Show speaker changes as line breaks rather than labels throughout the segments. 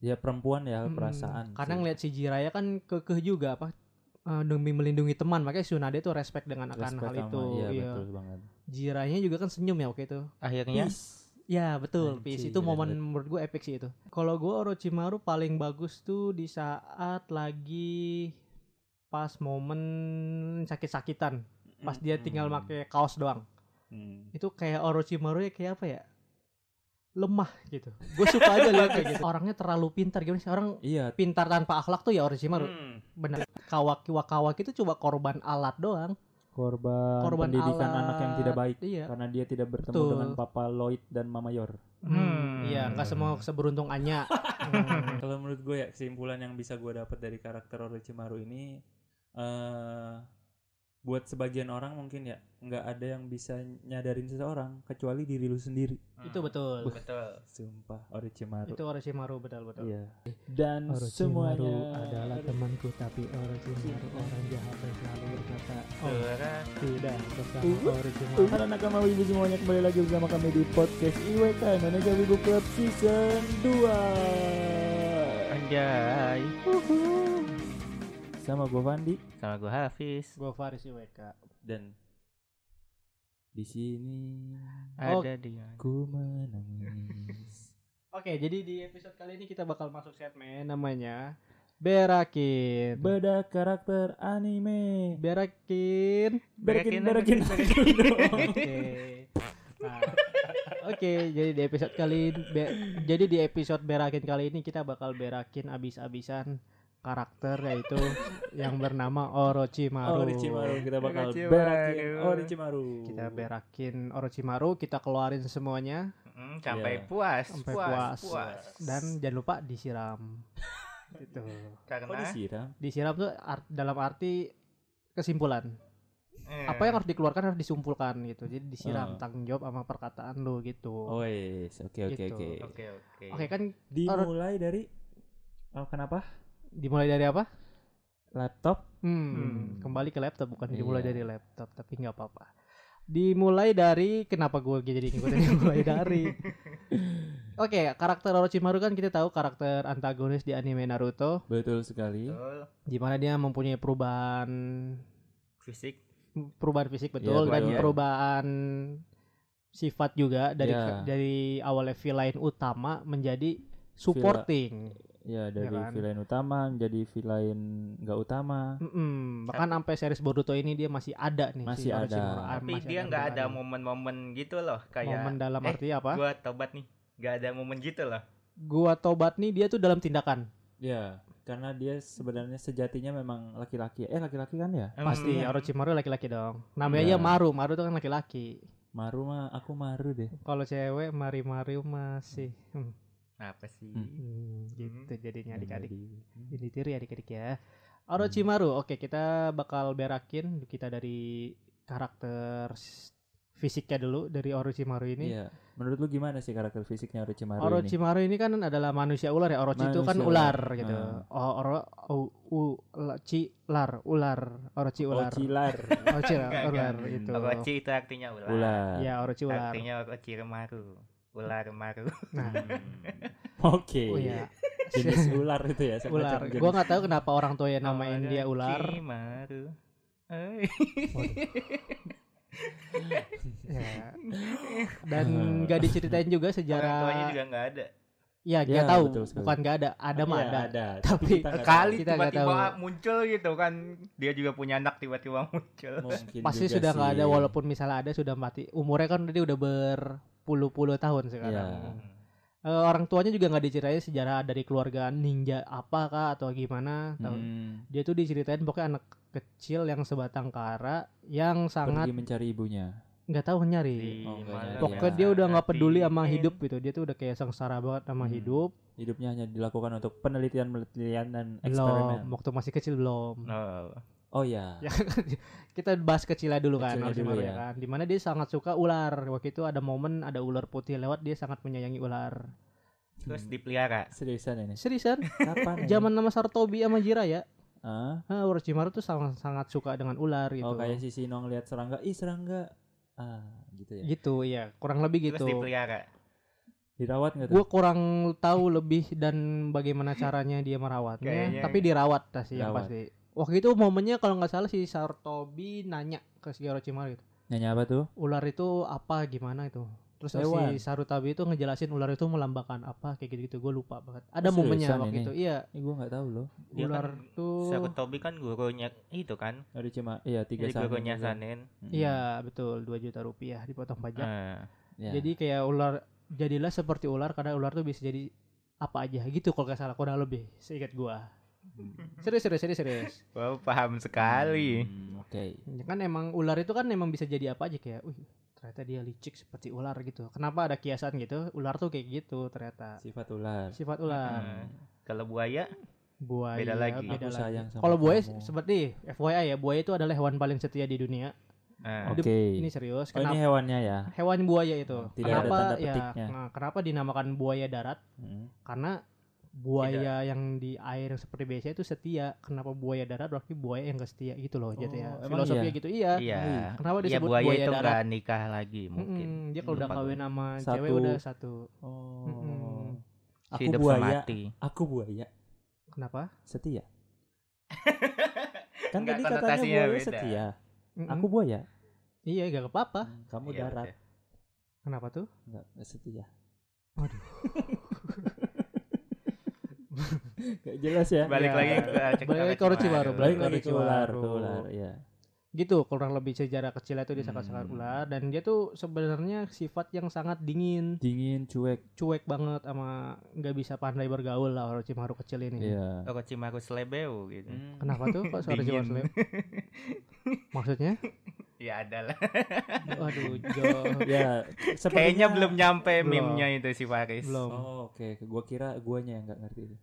ya perempuan ya
Mm-mm.
perasaan
Hmm, Karena
sih.
ngeliat si Jiraya kan kekeh juga apa eh, demi melindungi teman makanya Sunade tuh respect dengan akan
Respect
hal
sama-
itu.
iya,
iya.
betul banget
Jiraiya juga kan senyum ya waktu itu.
akhirnya
Ya betul,
Anjing,
Peace. Itu momen
bener-bener.
menurut gue epic sih itu. Kalau gue Orochimaru paling bagus tuh di saat lagi pas momen sakit-sakitan. Pas dia tinggal
Mm-mm.
pakai kaos doang.
Hmm.
Itu kayak Orochimaru ya kayak apa ya? Lemah gitu. Gue suka aja lihat kayak gitu. Orangnya terlalu pintar gimana sih? Orang
iya
pintar tanpa akhlak tuh ya Orochimaru.
Hmm.
Bener. Kawaki Wakawaki itu coba korban alat doang.
korban,
Korban
pendidikan
alat.
anak yang tidak baik
Iya.
karena dia tidak bertemu
Betul.
dengan Papa Lloyd dan Mama Yor.
Hmm, iya, nggak semua seberuntung Anya. Hmm.
Kalau menurut gue ya kesimpulan yang bisa gue dapat dari karakter Orochimaru ini eh buat sebagian orang mungkin ya nggak ada yang bisa nyadarin seseorang kecuali diri lu sendiri.
itu betul.
Hmm. betul
Sumpah Orochimaru.
Itu Orochimaru betul-betul.
Iya. Dan semuanya
adalah temanku tapi Orochimaru orang jahat yang selalu berkata "Oh,
Oh.
Suara-
tidak bersama Orochimaru.
Para nakama wibu semuanya kembali lagi bersama kami di podcast IWK Indonesia Wibu Club Season 2
anjay
sama gue Fandi
sama gue Hafiz
Gue Faris IWK.
dan di sini
Oh.
ada dia
ku menangis.
Oke, jadi di episode kali ini kita bakal masuk segmen namanya Berakin.
Beda karakter anime.
Berakin.
Berakin,
Berakin,
berakin,
berakin.
berakin.
Oke. Nah, Oke, jadi di episode kali ini- be- jadi di episode Berakin kali ini kita bakal berakin abis-abisan karakter yaitu yang bernama Orochimaru.
Orochimaru Oh, kita bakal Oh,
Orochimaru.
berakin Orochimaru.
Kita berakin Orochimaru, kita keluarin semuanya
Hmm, sampai
Iya.
puas
Sampai puas.
puas puas
dan jangan lupa disiram. gitu.
Kok
karena
disiram?
Disiram tuh art- dalam arti kesimpulan.
eh,
apa ya, yang harus dikeluarkan harus disumpulkan gitu jadi disiram
Oh.
tanggung jawab sama perkataan lo gitu
Oh yes, oke oke
Gitu.
oke.
oke oke
oke kan
Dimulai dari oh, kenapa?
dimulai dari apa
Laptop.
hmm,
Hmm.
kembali ke laptop bukan
Iya.
dimulai dari laptop tapi nggak apa-apa dimulai dari kenapa gue jadi ngikutin dimulai dari oke karakter Orochimaru kan kita tahu karakter antagonis di anime Naruto
Betul sekali.
Betul.
di mana dia mempunyai perubahan
fisik
perubahan fisik betul dan
Iya, perubahan.
perubahan sifat juga dari
Iya.
dari awalnya villain utama menjadi supporting,
Ya dari
Ya kan?
villain utama menjadi villain nggak utama.
Mm-mm. bahkan sampai series Boruto ini dia masih ada nih
Masih ada.
Orochimaru. Ah,
tapi
masih
dia nggak ada
momen,
momen-momen gitu loh
momen
kayak
dalam
eh,
arti apa?
gua tobat nih nggak ada momen gitu loh
Gua tobat nih dia tuh dalam tindakan
Ya, karena dia sebenarnya sejatinya memang laki-laki. Eh laki-laki kan ya?
pasti
Hmm.
Orochimaru laki-laki dong namanya
Iya.
Maru Maru tuh kan laki-laki
Maru mah aku Maru deh.
kalau cewek Mari Maru masih Hmm.
apa sih
Hmm. Iya,
Hmm, gitu jadinya adik-adik
Jadi-
Ini tiri adik-adik ya. Orochimaru, oke kita bakal berakin kita dari karakter s- fisiknya dulu dari Orochimaru ini.
Iya. Menurut lu gimana sih karakter fisiknya Orochimaru, ini?
Orochimaru ini. kan adalah manusia ular ya. Orochi itu kan
Manusia
ular
ular.
gitu.
Hmm.
O- Oro u, u, la- ci, lar, ular, Orochi
Oh,
ular.
Ocilar.
Orochi ular,
Enggak,
ular
enggak.
gitu.
Orochi itu artinya ular.
Iya, Ular. Iya.
Ya, Orochi ular.
Artinya Orochi Remaru. Ular Remaru.
Nah,
Oke.
oh ya.
Jenis ular itu ya. semacam
ular.
jenis-
Gua nggak tahu kenapa orang tua
Oh,
yang namain dia ular.
Orochi Maru. Eh,
Ya. Dan nggak diceritain juga
Orang tuanya
sejarah.
juga nggak ada.
Ya,
Ya,
nggak tahu.
betul sekali.
Bukan nggak ada, ada mah
Iya,
ada.
ada.
Tapi
kita nggak
Kali
Kita nggak
tiba-tiba muncul gitu kan. Dia juga punya anak tiba-tiba muncul.
tahu. Mungkin
Pasti
juga
sudah nggak ada
sih.
walaupun misalnya ada sudah mati. Umurnya kan dia udah berpuluh-puluh tahun sekarang.
Iya.
Hmm.
Eh, orang tuanya juga nggak diceritain sejarah dari keluarga ninja apa kah atau gimana. Tahu.
Hmm.
Dia tuh diceritain pokoknya anak kecil yang sebatang kara yang sangat
Pergi mencari ibunya.
nggak tahu nyari.
Di
Oh, nggak
malam
ada.
Pokoknya
yang
dia udah nggak
hati
peduli sama
dingin.
hidup gitu. Dia tuh udah kayak sengsara banget sama
Hmm.
hidup.
Hidupnya hanya dilakukan untuk penelitian-penelitian dan eksperimen.
Belum. Waktu masih kecil belum.
No.
Oh ya.
Ya, kita bahas kecilnya dulu kan
Kecilnya
Orochimaru
dulu
ya
ya.
kan dimana dia sangat suka ular waktu itu ada momen ada ular putih lewat dia sangat menyayangi ular
Terus dipelihara.
Seriusan ini.
seriusan
Kapan? ini?
zaman nama Sartobi sama Jiraya
Hah?
nah, Orochimaru tuh sangat sangat suka dengan ular gitu
Oh kayak si Sinong lihat serangga. Ih serangga. Ah gitu ya.
gitu iya kurang lebih
Terus
gitu
dipelihara.
Dirawat nggak tuh?
Gue kurang tahu lebih dan bagaimana caranya dia merawatnya,
Kayaknya
tapi dirawat pasti yang
ya. Dirawat.
pasti. Waktu itu momennya kalau nggak salah si Sartobi nanya ke si Orochimaru gitu.
Nanya apa tuh?
Ular itu apa gimana itu? Terus
Hewan.
si Sarutobi itu ngejelasin ular itu melambangkan apa kayak gitu-gitu. Gue lupa banget. Ada
Oh,
momennya
seriusan
waktu
ini?
itu. Iya,
Ini gue nggak tahu loh.
Dia
ular
kan
tuh
Sarutobi kan gurunya itu kan.
Ada cuma iya tiga
Jadi
sanin
gurunya
juga.
Sanin.
Mm.
Iya, betul 2 juta rupiah dipotong pajak.
Eh,
Iya.
Jadi kayak ular jadilah seperti ular karena ular tuh bisa jadi apa aja gitu kalau nggak salah kurang lebih seingat gua. Serius serius serius serius.
wow, paham sekali.
Hmm, Oke.
Ya kan emang ular itu kan emang bisa jadi apa aja kayak, wih ternyata dia licik seperti ular gitu. Kenapa ada kiasan gitu? Ular tuh kayak gitu ternyata
Sifat ular. Hmm,
sifat ular.
Eh, kalau buaya,
Buaya
Beda lagi.
beda
Aku
lagi.
sayang sama
Kalau buaya
kamu.
seperti FYI ya, buaya itu adalah hewan paling setia di dunia.
eh,
Oke.
Ini serius.
Oh, ini
Kenapa?
hewannya ya.
Hewan buaya itu.
Tidak ada
kenapa
tanda
ya?
petiknya.
nah, kenapa dinamakan buaya darat?
Hmm.
Karena buaya yang di air yang seperti biasa itu setia. Kenapa buaya darat berarti buaya yang gak setia gitu
Oh,
loh jatuhnya.
emang
Filosofinya
iya?
gitu iya.
iya.
Kenapa
Iya
disebut
buaya,
buaya
itu
darat? Hmm.
nggak nikah lagi mungkin.
Mm-mm, dia kalau udah
Lupa
kawin
gua.
sama
Satu.
cewek udah satu.
Oh.
Mm-mm.
Aku
Hmm. Hidup
buaya.
semati.
Aku buaya.
Kenapa?
Setia. Kan
Nggak,
tadi katanya
konotasinya
buaya
beda.
setia.
Mm-mm.
Aku buaya.
iya gak apa-apa.
Kamu
Iya,
darat.
iya.
Kenapa tuh?
Enggak setia.
Waduh.
Gak jelas ya.
Balik
Iya.
lagi ke cek
Balik
Orochimaru.
ke Orochimaru,
Balik lagi ke ular,
Orochimaru.
ke ular, ya.
Gitu kurang lebih sejarah kecil itu dia sangat-sangat
Hmm.
ular dan dia tuh sebenarnya sifat yang sangat dingin,
Dingin, cuek,
cuek banget sama nggak bisa pandai bergaul lah Orochimaru kecil ini.
ya.
Orochimaru selebeu gitu.
Hmm. Kenapa tuh kok suara Jawa
Dingin.
Sule? Maksudnya?
Ya adalah.
Waduh, Jo.
ya,
Kayaknya
sepertinya-
belum nyampe
Belum.
meme-nya itu si Faris.
Belum.
Oh, oke. Gua kira guanya yang nggak ngerti itu.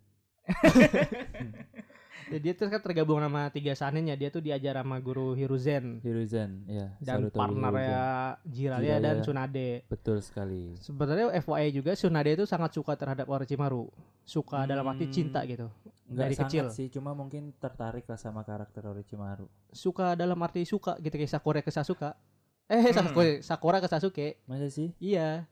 Ya, dia terus kan tergabung sama tiga sanin ya. Dia tuh diajar sama guru Hiruzen
Hiruzen, ya.
dan
Sarutobi Hiruzen.
partnernya Jiraiya
Jiraiya.
dan Tsunade.
Betul sekali.
Sebenarnya FYI juga Tsunade itu sangat suka terhadap Orochimaru. Suka dalam arti
Hmm.
cinta gitu.
Nggak
Dari
sangat
kecil.
sih, cuma mungkin tertarik lah sama karakter Orochimaru.
Suka dalam arti suka gitu kayak Sakura ke Sasuke. Eh, Sakura, Sakura ke Sasuke.
Masa sih?
Iya,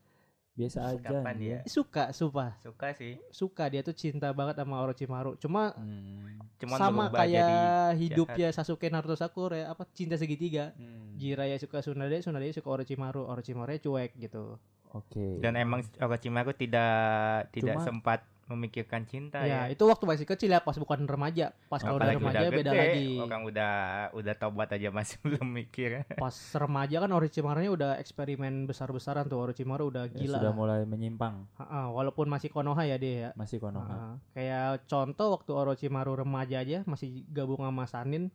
Biasa aja.
Kapan
anjir.
dia?
suka, sumpah.
Suka sih.
Suka dia tuh cinta banget sama Orochimaru. Cuma
Hmm.
Cuman
sama
berubah jadi
kayak hidupnya Sasuke Naruto Sakura ya, apa cinta segitiga
Hmm.
Jiraiya suka Tsunade Tsunade suka Orochimaru Orochimaru cuek gitu
Oke.
dan emang Orochimaru tidak tidak
Cuma-
sempat memikirkan cinta
ya
ya.
itu waktu masih kecil ya pas bukan remaja pas kalau udah
Apalagi
remaja
udah
beda
gede,
lagi
Orang udah udah tobat aja masih belum mikir.
pas remaja kan Orochimarunya udah eksperimen besar-besaran tuh Orochimaru udah
Ya,
gila
sudah mulai menyimpang,
Ha-ha, walaupun masih Konoha ya dia ya
masih Konoha.
Ha-ha. kayak contoh waktu Orochimaru remaja aja masih gabung sama Sanin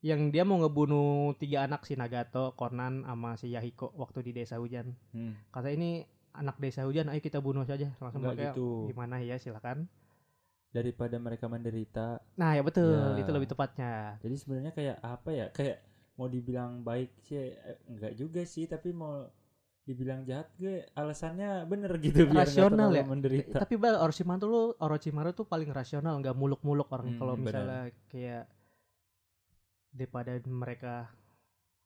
yang dia mau ngebunuh tiga anak si Nagato, Konan, sama si Yahiko waktu di desa hujan.
Hmm.
kata ini anak desa hujan ayo kita bunuh saja langsung
Nggak
pakai
gitu.
gimana ya silakan
Daripada mereka menderita,
nah ya betul
Ya.
itu lebih tepatnya
Jadi sebenarnya kayak apa ya? Kayak mau dibilang baik sih eh, enggak juga sih, tapi mau dibilang jahat gue alasannya bener gitu biar nggak
Rasional
terlalu
ya?
menderita.
tapi bal Orochimaru tuh Orochimaru tuh paling rasional nggak muluk-muluk orang
Hmm,
kalau
benar.
misalnya kayak daripada mereka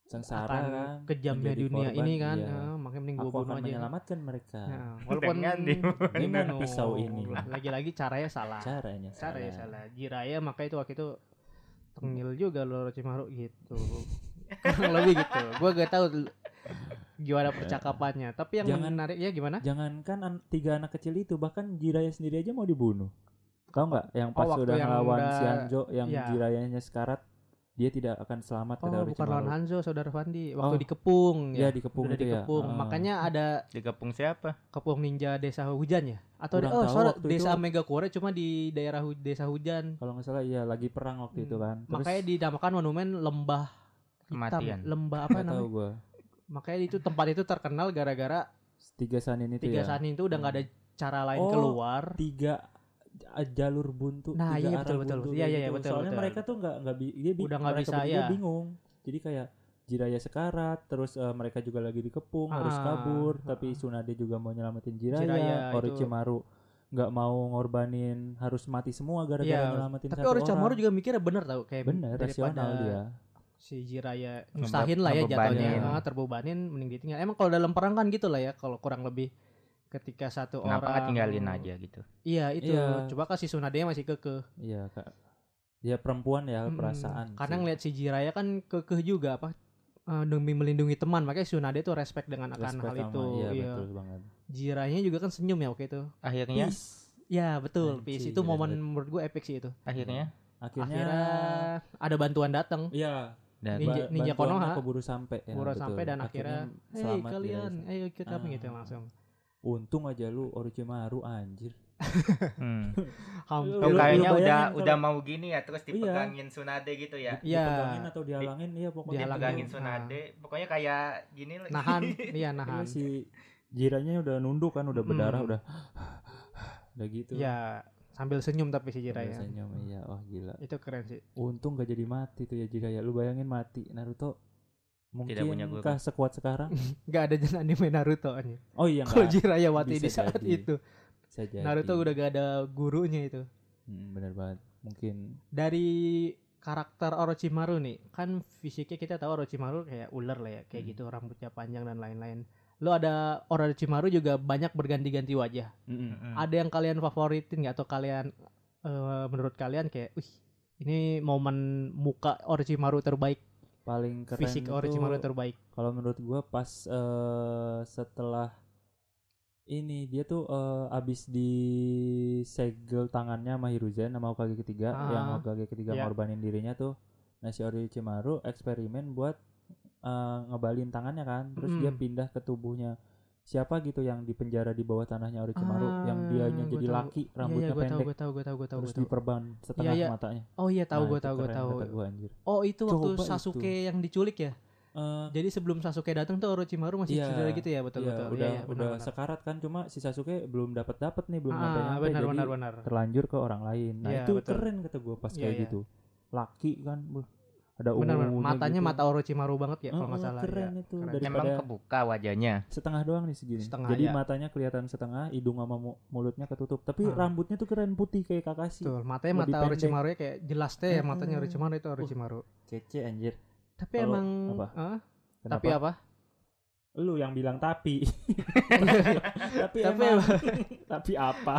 Sengsara
akan
kan,
kejamnya
menjadi
dunia
korban,
ini kan
iya.
eh, makanya mending
Aku
gue bunuh
akan
aja
menyelamatkan mereka.
Nah, walaupun
Dengan di-
dengan
dibunuh.
pisau ini.
lagi-lagi caranya salah
Caranya
cara ya
salah. Hmm.
salah Jiraya makanya itu waktu itu tengil juga lo Orochimaru gitu kurang lebih gitu gue gak tahu l- gimana percakapannya tapi yang
Jangan-
menarik ya gimana
Jangankan an- tiga anak kecil itu, bahkan Jiraya sendiri aja mau dibunuh. Tahu nggak? Yang pas
Oh, waktu
udah
yang
ngelawan
udah-
si Hanjo yang
iya.
Jirayanya sekarat, dia tidak akan selamat
oh
kata
bukan
Orochimaru.
lawan Hanzo saudara Fandi waktu
Oh.
dikepung
Ya,
ya,
dikepung
udah
itu ya.
dikepung
Heeh.
makanya ada
Dikepung siapa?
kepung ninja desa hujan ya atau
Kurang
oh
tahu
sorry
waktu
desa
itu.
Megakure cuma di daerah hu- desa hujan
Kalau nggak salah iya lagi perang waktu itu kan. Terus
Hmm, makanya dinamakan monumen lembah hitam ya?
Kematian.
lembah apa
nggak tahu
namanya
gue.
makanya itu tempat itu terkenal gara-gara
Tiga sanin itu
tiga
ya.
sanin itu udah nggak ada cara lain
Oh,
keluar
tiga j- jalur buntu
Nah,
tiga
iya,
arah
betul, betul,
buntu
betul. Iya,
kayak
iya, iya,
gitu.
betul,
soalnya
betul.
mereka tuh nggak nggak bi- dia bi-
Udah nggak
mereka
bisa,
bertiga
ya.
bingung jadi kayak Jiraya sekarat terus eh, mereka juga lagi dikepung harus
Ah,
kabur
ah.
tapi Tsunade juga mau nyelamatin
Jiraiya,
Jiraya,
itu.
Orochimaru nggak mau ngorbanin harus mati semua gara-gara
Iya,
nyelamatin
Tapi
satu orang
Orochimaru juga mikirnya bener tau kayak
bener
daripada
rasional dia
Si Jiraya nyusahin lah ya
ngebebanin.
jatuhnya, Ah, terbebanin mending ditinggal. Emang kalau dalam perang kan gitu lah ya kalau kurang lebih ketika satu orang
Kenapa nggak tinggalin aja gitu?
Iya itu.
Iya.
Coba kasih Tsunade masih kekeh.
Iya kak. Ya perempuan ya
Mm-mm.
perasaan.
Hmm, Karena
sih.
ngeliat si Jiraya kan kekeh juga apa eh, demi melindungi teman makanya Tsunade tuh respect dengan akan
Respect
hal
sama-
itu.
Iya,
iya.
betul banget.
Jiraiya juga kan senyum ya waktu itu.
Akhirnya,
Ya betul.
Anjing,
Peace itu
keren
momen
banget.
menurut gue epic sih itu.
akhirnya
iya, Akhirnya,
Akhirnya ada bantuan datang.
Iya.
dan
Ninja-
ba-
Ninja
bantuannya
Konoha.
keburu sampai ya.
Boro
betul.
sampai dan akhirnya, Hei
selamat
kalian,
diraih.
ayo ke kami
Ah.
gitu langsung.
Untung aja lu Orochimaru anjir.
hmm.
Hampir.
Lu-
Tuh,
lu
kayaknya
bayangin
udah
kalau-
udah mau gini ya terus
Iya.
dipegangin Tsunade gitu ya.
Di-
Iya.
Dipegangin atau dihalangin iya pokoknya.
Dihalangin.
Dipegangin
Ah.
Tsunade, pokoknya kayak gini lagi.
Nahan, iya
Iya,
nahan.
si jiranya udah nunduk kan udah berdarah
Mm.
udah. udah gitu.
Ya sambil senyum tapi si
Udah
Jiraiya.
senyum, iya. Wah, gila.
Itu keren sih.
Untung gak jadi mati tuh ya Jiraiya. Lu bayangin mati Naruto.
Tidak punya guru.
Mungkinkah sekuat sekarang?
Gak ada jalan anime Naruto anjir.
Oh iya
Kalau
enggak.
Jiraiya mati
Bisa
di saat
jadi.
itu,
Bisa jadi.
Naruto udah gak ada gurunya itu.
Mm, bener banget. Mungkin
Dari karakter Orochimaru nih, kan fisiknya kita tahu Orochimaru kayak ular lah ya, kayak
Hmm.
gitu rambutnya panjang dan lain-lain. Lo ada Orochimaru juga banyak berganti-ganti wajah.
Mm-mm.
Mm-mm.
ada yang kalian favoritin nggak atau kalian eh, menurut kalian kayak wih ini momen muka Orochimaru terbaik
paling keren
fisik
itu
Orochimaru terbaik
kalau menurut gua pas eh, setelah ini dia tuh eh, abis disegel tangannya sama Hiruzen sama Hokage ketiga
Ah,
yang Hokage ketiga
iya.
ngorbanin dirinya tuh nah si Orochimaru eksperimen buat eh, ngebalin tangannya kan terus dia
Mm-mm.
pindah ke tubuhnya siapa gitu yang dipenjara di bawah tanahnya Orochimaru yang
Ah,
dianya
gua
jadi
tahu.
laki
Iya,
rambutnya
iya gue tahu
pendek
gue tahu gue tahu gue tahu
terus
gua tahu.
diperban setengah
iya.
matanya
oh iya tahu
Nah,
gue
itu
tahu gue
keren
tahu
kata gua, anjir
oh itu waktu
Coba itu.
Sasuke yang diculik ya
Eh,
jadi sebelum Sasuke datang tuh Orochimaru masih
Iya.
cedera gitu ya
Iya,
betul betul
udah
Iya, iya, benar,
udah
benar.
sekarat kan cuma si Sasuke belum dapat dapat nih belum
Ah,
nyampe nyampe
benar
jadi
benar benar
terlanjur ke orang lain. Nah
Iya,
itu
betul.
keren kata gue pas
Iya,
kayak
iya.
gitu. Laki kan beuh, ada
benar benar.
ungunya
matanya
gitu.
mata Orochimaru banget ya kalau nggak
Heeh,
salah
Keren
ya.
itu
Keren.
daripada
Emang kebuka wajahnya.
setengah doang nih segini.
Setengah,
jadi
iya.
matanya kelihatan setengah, hidung sama mu- mulutnya ketutup. Tapi
Ah.
rambutnya tuh keren putih kayak Kakashi.
Betul,
Lebih
matanya mata
pendek.
Orochimaru kayak jelas deh ya matanya
Mm-mm.
Orochimaru itu Orochimaru.
Kece anjir.
Tapi
Kalau
emang
apa?
Hah?
Kenapa?
tapi apa?
lu yang bilang tapi. tapi
Tapi
emang tapi apa?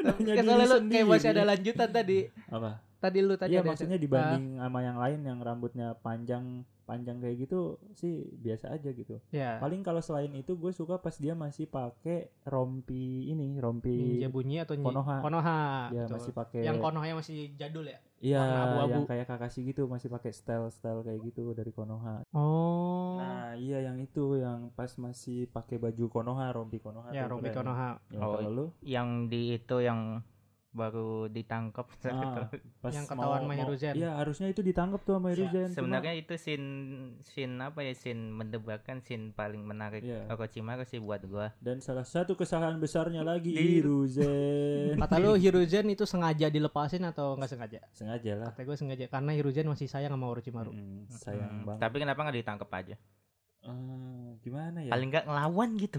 Nanya
Kayak
diri
soalnya lu kayak masih ada
sendiri.
lanjutan tadi.
apa?
Tadi lu tadi
Iya
ada- eh,
maksudnya dibanding sama yang lain yang rambutnya panjang panjang kayak gitu sih biasa aja gitu.
Ah, ya.
Paling kalau selain itu gue suka pas dia masih pakai rompi ini rompi
Ninja bunyi atau nyi-
Konoha.
Konoha.
ya
betul.
masih pakai
Yang Konoha yang masih jadul ya?
iya
warna abu-abu.
yang kayak Kakashi gitu masih pakai style style kayak gitu dari Konoha.
Oh.
Nah iya yang itu yang pas masih pakai baju Konoha rompi Konoha.
ya
tuh
Romi
keren.
Konoha.
Ya,
Oh,
kalau lu
Yang di itu yang baru ditangkap. Gitu.
ah, pas
Yang
mau-
ketahuan sama
mau-
Hiruzen. Iya,
Iya harusnya itu ditangkap tuh sama Hiruzen. Iya, cuma-
Sebenarnya itu scene scene apa ya scene mendebarkan scene paling menarik
Iya.
Orochimaru sih buat gua.
dan salah satu kesalahan besarnya lagi
Di-
Hiruzen.
Kata lu Hiruzen itu sengaja dilepasin atau nggak sengaja?
Sengaja lah.
Kata gue sengaja karena Hiruzen masih sayang sama Orochimaru.
Mm, sayang
Hmm,
banget.
Tapi kenapa nggak ditangkap aja?
Eh, gimana ya?
Paling nggak ngelawan gitu.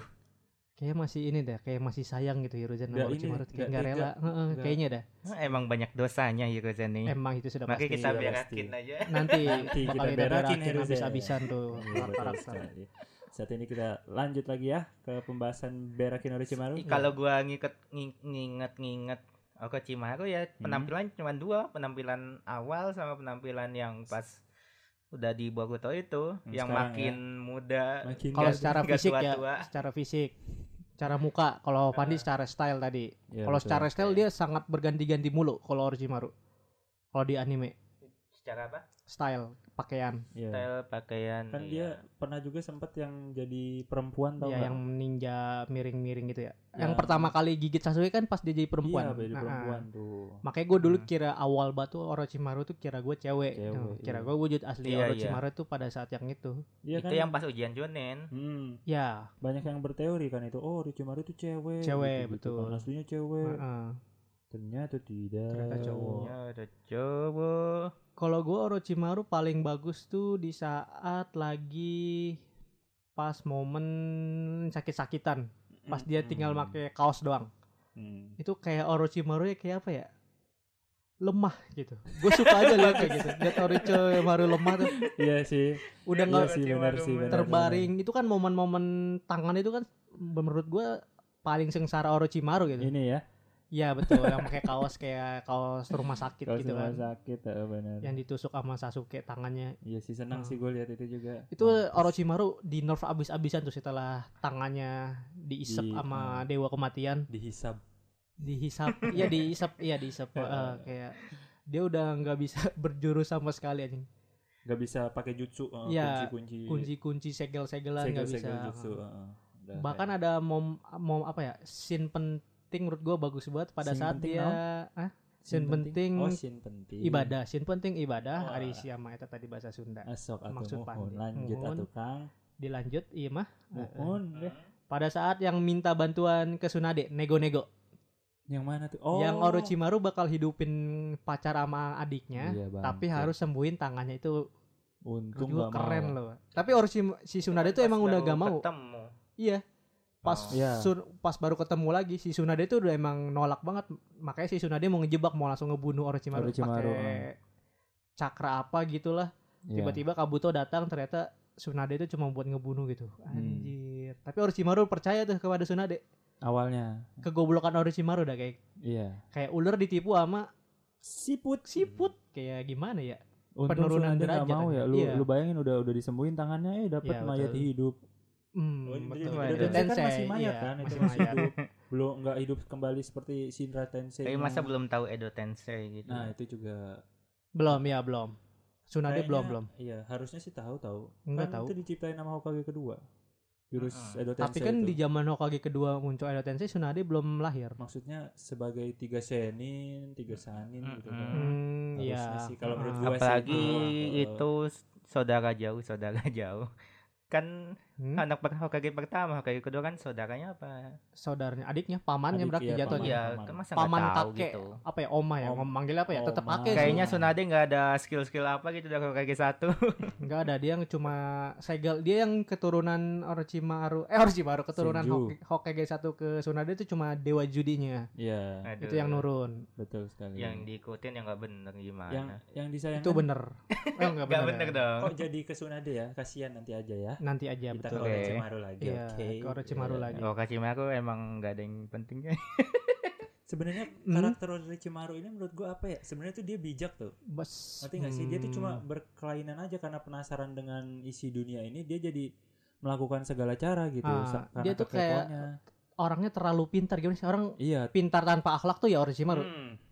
Kayak masih ini deh, kayak masih sayang gitu Hiruzen
Nggak
sama
ini,
Orochimaru. Kayak
nggak
nggak
tega,
rela. Heeh,
nggak-
kayaknya dah.
Nah, emang banyak dosanya Hiruzen nih.
Emang itu sudah
Makanya
pasti.
kita
Iya,
berakin
pasti.
aja.
nanti,
Nanti
bakal
kita
kita
berakin
berakin
Hiruzen.
habis-habisan tuh
Iya, betul
karakter.
sekali. Saat ini kita lanjut lagi ya ke pembahasan berakin Orochimaru.
Ih, Kalau gua ngiket nging- nginget-nginget Orochimaru ya
Hmm.
penampilan cuma dua, penampilan awal sama penampilan yang pas udah di Boruto itu
Hmm,
yang
sekarang
makin muda.
makin nggak-
Kalau
Nah.
secara
nggak
fisik ya,
tua-tua.
secara fisik, secara muka. Kalau Pandi secara style tadi.
Iya,
kalau
betul.
secara style dia sangat berganti-ganti mulu kalau Orochimaru. Kalau di anime,
Secara apa?
style, pakaian,
Iya.
Style pakaian.
kan
iya.
dia pernah juga sempat yang jadi perempuan tau
ya
nggak? Iya,
yang ninja miring-miring gitu ya. Yang
Yang-
pertama kali gigit Sasuke kan pas dia jadi perempuan.
Iya, jadi
Nah,
perempuan tuh.
Makanya gue dulu
Hmm.
kira awal batu Orochimaru tuh kira gue cewek,
Cewek,
Nah, kira
iya.
gue wujud asli
Iya, iya.
Orochimaru tuh pada saat yang itu.
Dia
itu yang pas ujian Jonen.
Iya kan? Hmm,
Ya,
banyak yang berteori kan itu. Oh, Orochimaru itu cewek.
Cewek,
gitu-gitu
betul.
kan. Aslinya cewek.
heeh.
Ternyata tidak.
Ternyata
Oh.
cowok.
Ya udah cowok.
Kalau gue Orochimaru paling bagus tuh di saat lagi pas momen sakit-sakitan, pas dia tinggal
Mm-mm.
pakai kaos doang.
Hmm.
Itu kayak Orochimaru ya kayak apa ya? Lemah gitu. Gue suka aja lihat kayak gitu. Lihat Orochimaru lemah tuh,
Iya sih.
udah
Iya
nggak
sih benar sih. benar, benar.
terbaring. Itu kan momen-momen tangan itu kan menurut gue paling sengsara Orochimaru gitu.
Ini ya,
Iya betul, yang pakai kaos kayak kaos rumah sakit
kalau
gitu
gitu
kan.
sakit, eh, benar.
Yang ditusuk sama Sasuke tangannya.
Iya sih senang
Hmm.
sih gue lihat itu juga. Ah.
Itu Orochimaru di nerf abis-abisan tuh setelah tangannya diisep
Di-
sama
ah.
dewa kematian,
Dihisap.
dihisap. Iya dihisap, iya dihisap Eh, kayak dia udah nggak bisa berjurus sama sekali anjing.
Gak bisa pakai jutsu. eh,
Iya,
kunci-kunci.
Kunci-kunci segel-segelan nggak
segel-segel
bisa.
jutsu. eh. Udah,
Bahkan
kayak-
ada mom mom apa ya? Scene penting menurut gua bagus banget pada
Scene
saat
penting
dia Hah? scene penting
Oh, scene penting.
ibadah sin penting ibadah
Wah.
hari siama eta tadi bahasa Sunda
Asok
Maksud
atau
Pandi.
mohon lanjut
Muhun.
atau Kang.
dilanjut iya mah Heeh.
Mohon deh.
pada saat yang minta bantuan ke Sunade nego-nego
Yang mana tuh? Oh.
yang Orochimaru bakal hidupin pacar sama adiknya
Iya, Bang.
tapi harus sembuhin tangannya itu
untung
juga
gak
keren
mau.
loh tapi Orochi si Sunade itu
Pas
emang udah
baru
gak mau
Ketemu.
iya pas
Oh.
Iya.
Sun- pas baru ketemu lagi si Sunade itu udah emang nolak banget makanya si Sunade mau ngejebak mau langsung ngebunuh Orochimaru,
Orochimaru, ah.
pakai cakra apa gitulah
Iya.
tiba-tiba Kabuto datang ternyata Tsunade itu cuma buat ngebunuh gitu
Hmm.
anjir tapi Orochimaru percaya tuh kepada Tsunade
Awalnya.
kegoblokan Orochimaru udah kayak
Iya.
kayak ular ditipu sama
Siput.
siput kayak gimana ya
Untung Penurunan
Penurunan
gak
derajat
mau ya.
aja.
Lu,
Iya.
lu bayangin udah udah disembuhin tangannya eh dapat
Iya,
mayat
betul.
hidup.
hmm,
Oh, itu
betul
juga
ada
Tensei kan
Tensei,
masih mayat
iya,
kan, itu
masih
masih
mayat.
hidup. Belum nggak hidup kembali seperti Shinra Tensei.
Tapi
yang-
masa belum tahu Edo Tensei gitu.
Iya. Nah, itu juga
belum ya belum Tsunade
Kayaknya-
belum belum
Iya, harusnya sih tahu tahu.
Nggak
Kan
tahu.
Itu diciptain sama Hokage kedua. Jurus
Mm-mm.
Edo Tensei.
tapi kan
itu. Hmm,
di zaman Hokage kedua muncul Edo Tensei Tsunade belum lahir
maksudnya sebaai tiga senin tiga sanin gitu kan
Mm-mm.
hmm,
Harusnya
ya
sih, oh. kalau menurut
Ah,
gua-
Apalagi
Heeh.
itu saudara jauh, saudara jauh. Kan
hmm,
anak per- Hokage pertama, Hokage kedua kan saudaranya apa?
saudaranya adiknya pamannya
Adik,
berarti
iya,
jatuhnya
paman.
Iya, kan masa nggak
paman
tahu
kakek
gitu.
apa ya oma ya
Om-
manggilnya apa ya tetap
oma.
pakai
Kayaknya
Hmm.
Sunade nggak ada skill-skill apa gitu dari Hokage satu.
Enggak ada dia yang cuma segel dia yang keturunan Orochimaru eh Orochimaru keturunan
Senju.
Hoke- Hokage 1 ke Tsunade itu cuma dewa judinya
Iya,
itu yang nurun
betul sekali
Yang diikutin yang nggak bener gimana?
yang yang disayangkan
itu bener oh enggak
Nggak
bener,
bener
ya.
dong.
kok jadi ke Tsunade ya kasihan nanti aja ya
nanti aja
kita
Iya, betul
ke
Oke.
Orochimaru lagi
Iya,
oke
ke Orochimaru
Iya.
lagi.
Oh, Kashimaru emang nggak ada yang penting
sebenarnya
Hmm.
karakter Orochimaru ini menurut gua apa ya sebenarnya tuh dia bijak tuh
Bes,
ngerti nggak sih dia tuh cuma
hmm,
berkelainan aja karena penasaran dengan isi dunia ini dia jadi melakukan segala cara gitu
Ah,
sa- karena
dia tuh kayak-
kekepoannya.
orangnya terlalu pintar gimana sih orang
iya
pintar tanpa akhlak tuh ya
Hmm.
Orochimaru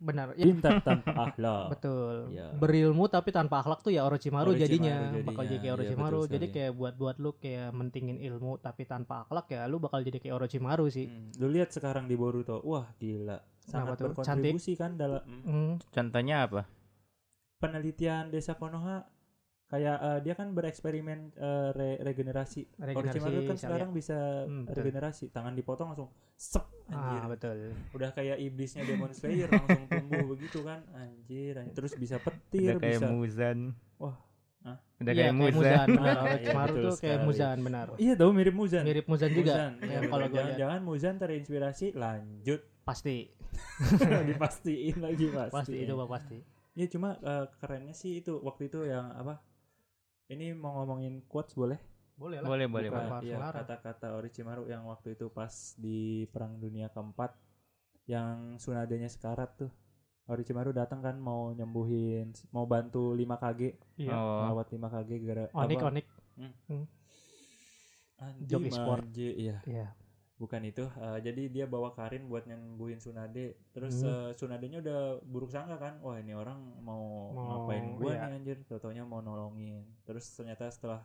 benar ya,
pintar tanpa akhlak
betul
Iya.
berilmu tapi tanpa akhlak tuh ya Orochimaru,
Orochimaru
jadinya.
jadinya,
bakal jadi
iya,
kayak
betul
Orochimaru jadi
sekali.
kayak buat buat lu kayak mentingin ilmu tapi tanpa akhlak ya lu bakal jadi kayak Orochimaru sih
Hmm, Lu lihat sekarang di Boruto, wah gila. Hmm. Sangat
tuh?
berkontribusi kan dalam mm,
Hmm.
Contohnya apa?
penelitian desa Konoha. Kayak eh, dia kan bereksperimen eh, re- regenerasi. Orochimaru kan
sekalian.
sekarang bisa
Hmm, betul.
regenerasi. Tangan dipotong langsung sep
Ah,
anjir.
betul.
Udah kayak iblisnya Demon Slayer langsung tumbuh begitu kan. Anjir, anjir. terus bisa
Udah
petir,
kayak
bisa.
Muzan.
Wah, hah?
Udah
Iya,
kayak Muzan.
Ah,
benar.
iya,
Orochimaru
betul
tuh kayak
sekali.
Muzan benar.
Iya, tahu mirip Muzan.
Mirip Muzan juga.
Muzan.
Ya,
Iya,
kalau gua lihat
jangan-jangan Muzan terinspirasi lanjut
pasti,
dipastiin lagi pasti.
pasti itu Bang, pasti.
Ya cuma eh, kerennya sih itu waktu itu yang apa? Ini mau ngomongin quotes boleh?
Boleh
Boleh, boleh,
Bukan,
boleh.
Harus
iya,
ngelarang.
kata-kata Orochimaru yang waktu itu pas di Perang Dunia keempat yang Tsunadenya sekarat tuh. Orochimaru datang kan mau nyembuhin, mau bantu 5KG,
Iya.
Oh.
melawat 5KG gara
Onik
apa?
Onik.
Anti
Joki sport.
manje, iya.
Iya.
Bukan itu. eh, jadi dia bawa Karin buat nyembuhin Tsunade. Terus eh,
Hmm.
Tsunadenya udah buruk sangka kan. Wah, ini orang mau,
Mau,
ngapain gua
iya.
nih anjir. Taunya mau nolongin. Terus ternyata setelah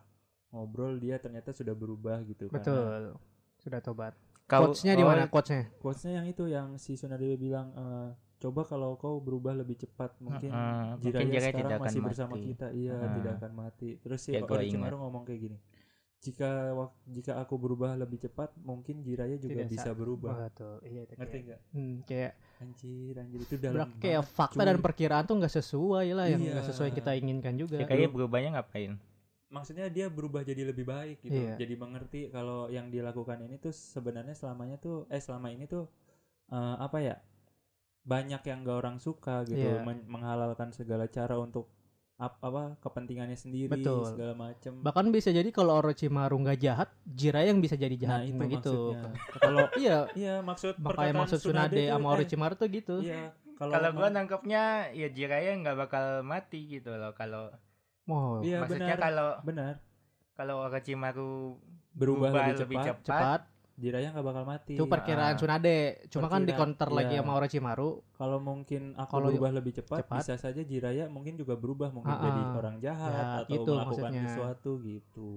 ngobrol dia ternyata sudah berubah gitu kan.
Betul. Sudah tobat.
Kau-
Coachnya di
oh,
mana coachnya?
Quotesnya yang itu yang si Tsunade bilang eh, coba kalau kau berubah lebih cepat mungkin
Heeh,
Jiraiya
uh, mungkin Jiraiya
sekarang
tidak akan
masih bersama
mati.
kita. Iya,
Heeh.
tidak akan mati. Terus si
Ya, gua
Orochimaru ngomong kayak gini. Jika wak- jika aku berubah lebih cepat, mungkin Jiraiya juga
Tidak
bisa
sa-
berubah.
Betul. Iya itu
Ngerti
kayak.
nggak?
Hmm, kayak
Anjir, anjir itu dalam
berak- kayak fakta
cuy.
dan perkiraan tuh nggak sesuai lah yang nggak
Iya.
sesuai yang kita inginkan juga.
Ya, kayaknya berubahnya ngapain?
maksudnya dia berubah jadi lebih baik gitu
Iya.
jadi mengerti kalau yang dilakukan ini tuh sebenarnya selamanya tuh eh selama ini tuh eh, apa ya banyak yang gak orang suka gitu
Iya.
men- menghalalkan segala cara untuk ap- apa kepentingannya sendiri
Betul.
segala macem
Bahkan bisa jadi kalau Orochimaru nggak jahat, Jiraiya yang bisa jadi
nah
jahat
itu
nah, gitu.
maksudnya
Kalau iya,
iya maksud
makanya
perkataan
maksud Tsunade
itu-
sama
eh,
Orochimaru tuh gitu.
iya kalau
Kalau gua
emang-
nangkepnya ya Jiraiya nggak bakal mati gitu loh kalau
Wow,
iya
maksudnya
benar
kalau
benar
kalau Orochimaru
berubah, lebih, cepat,
cepat.
Jiraiya nggak bakal mati
Itu perkiraan
ah.
Tsunade. Cuma kan
Iya.
di
Perkiraan,
counter lagi
iya.
sama Orochimaru.
kalau mungkin aku
Kalau
berubah lebih cepat,
cepat.
bisa saja Jiraya mungkin juga berubah mungkin
Ah,
jadi
ah.
orang jahat
Ya,
atau
gitu
melakukan
maksudnya.
sesuatu gitu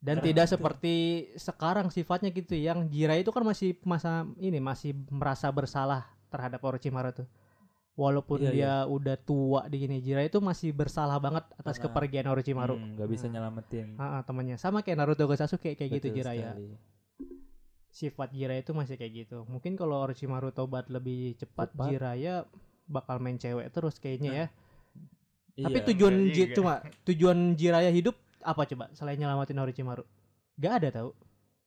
Dan
Nah,
tidak
itu.
seperti sekarang sifatnya gitu yang Jiraiya itu kan masih masa ini masih merasa bersalah terhadap Orochimaru tuh. Walaupun
Iya,
dia udah tua di gini, Jiraiya itu masih bersalah banget atas
Karena-
kepergian Orochimaru.
Hmm, nggak bisa
Nah.
nyelamatin
Ah, ah, temannya sama kayak Naruto ke Sasuke kayak gitu
Betul
Jiraiya.
sekali.
sifat Jiraiya itu masih kayak gitu. Mungkin kalau Orochimaru tobat lebih cepat,
Cepat.
Jiraiya bakal main cewek terus kayaknya ya. Tapi
Iya.
tujuan
enggak
Ji-
juga.
cuma tujuan Jiraiya hidup apa coba selain nyelamatin Orochimaru? Gak ada tahu.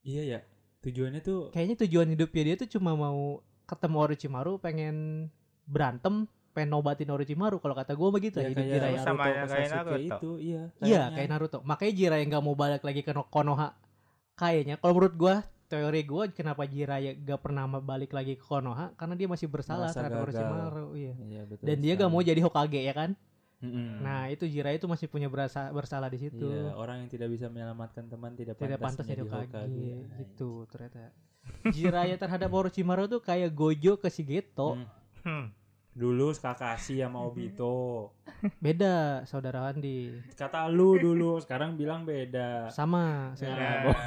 iya ya tujuannya tuh
Kayaknya tujuan hidupnya dia tuh cuma mau ketemu Orochimaru, pengen berantem, pengen nobatin Orochimaru kalau kata gue begitu
ya
ya, hidup Jiraiya.
Naruto
Sama
ke
kayak
Sasuke
Naruto.
itu iya
Iya,
kayaknya.
kayak Naruto. Makanya Jiraiya nggak mau balik lagi ke No- Konoha. Kayaknya kalau menurut gua, teori gua kenapa Jiraiya gak pernah mau balik lagi ke Konoha karena dia masih bersalah
Merasa
terhadap
gagal.
Orochimaru, iya.
Iya, betul
Dan dia gak
sekali.
mau jadi Hokage ya kan?
Mm-mm.
Nah, itu Jiraiya itu masih punya berasa bersalah di situ.
Hmm. Iya, orang yang tidak bisa menyelamatkan teman tidak,
Tidak pantas jadi Hokage
Hokage.
gitu ternyata. Jiraiya terhadap Orochimaru tuh kayak Gojo ke Shigeto,
Hmm.
Hmm.
Dulu Kakashi sama Obito.
beda saudara Andi.
Kata lu dulu, sekarang bilang beda. Ya,
Sama sekarang.
boh.
Nah,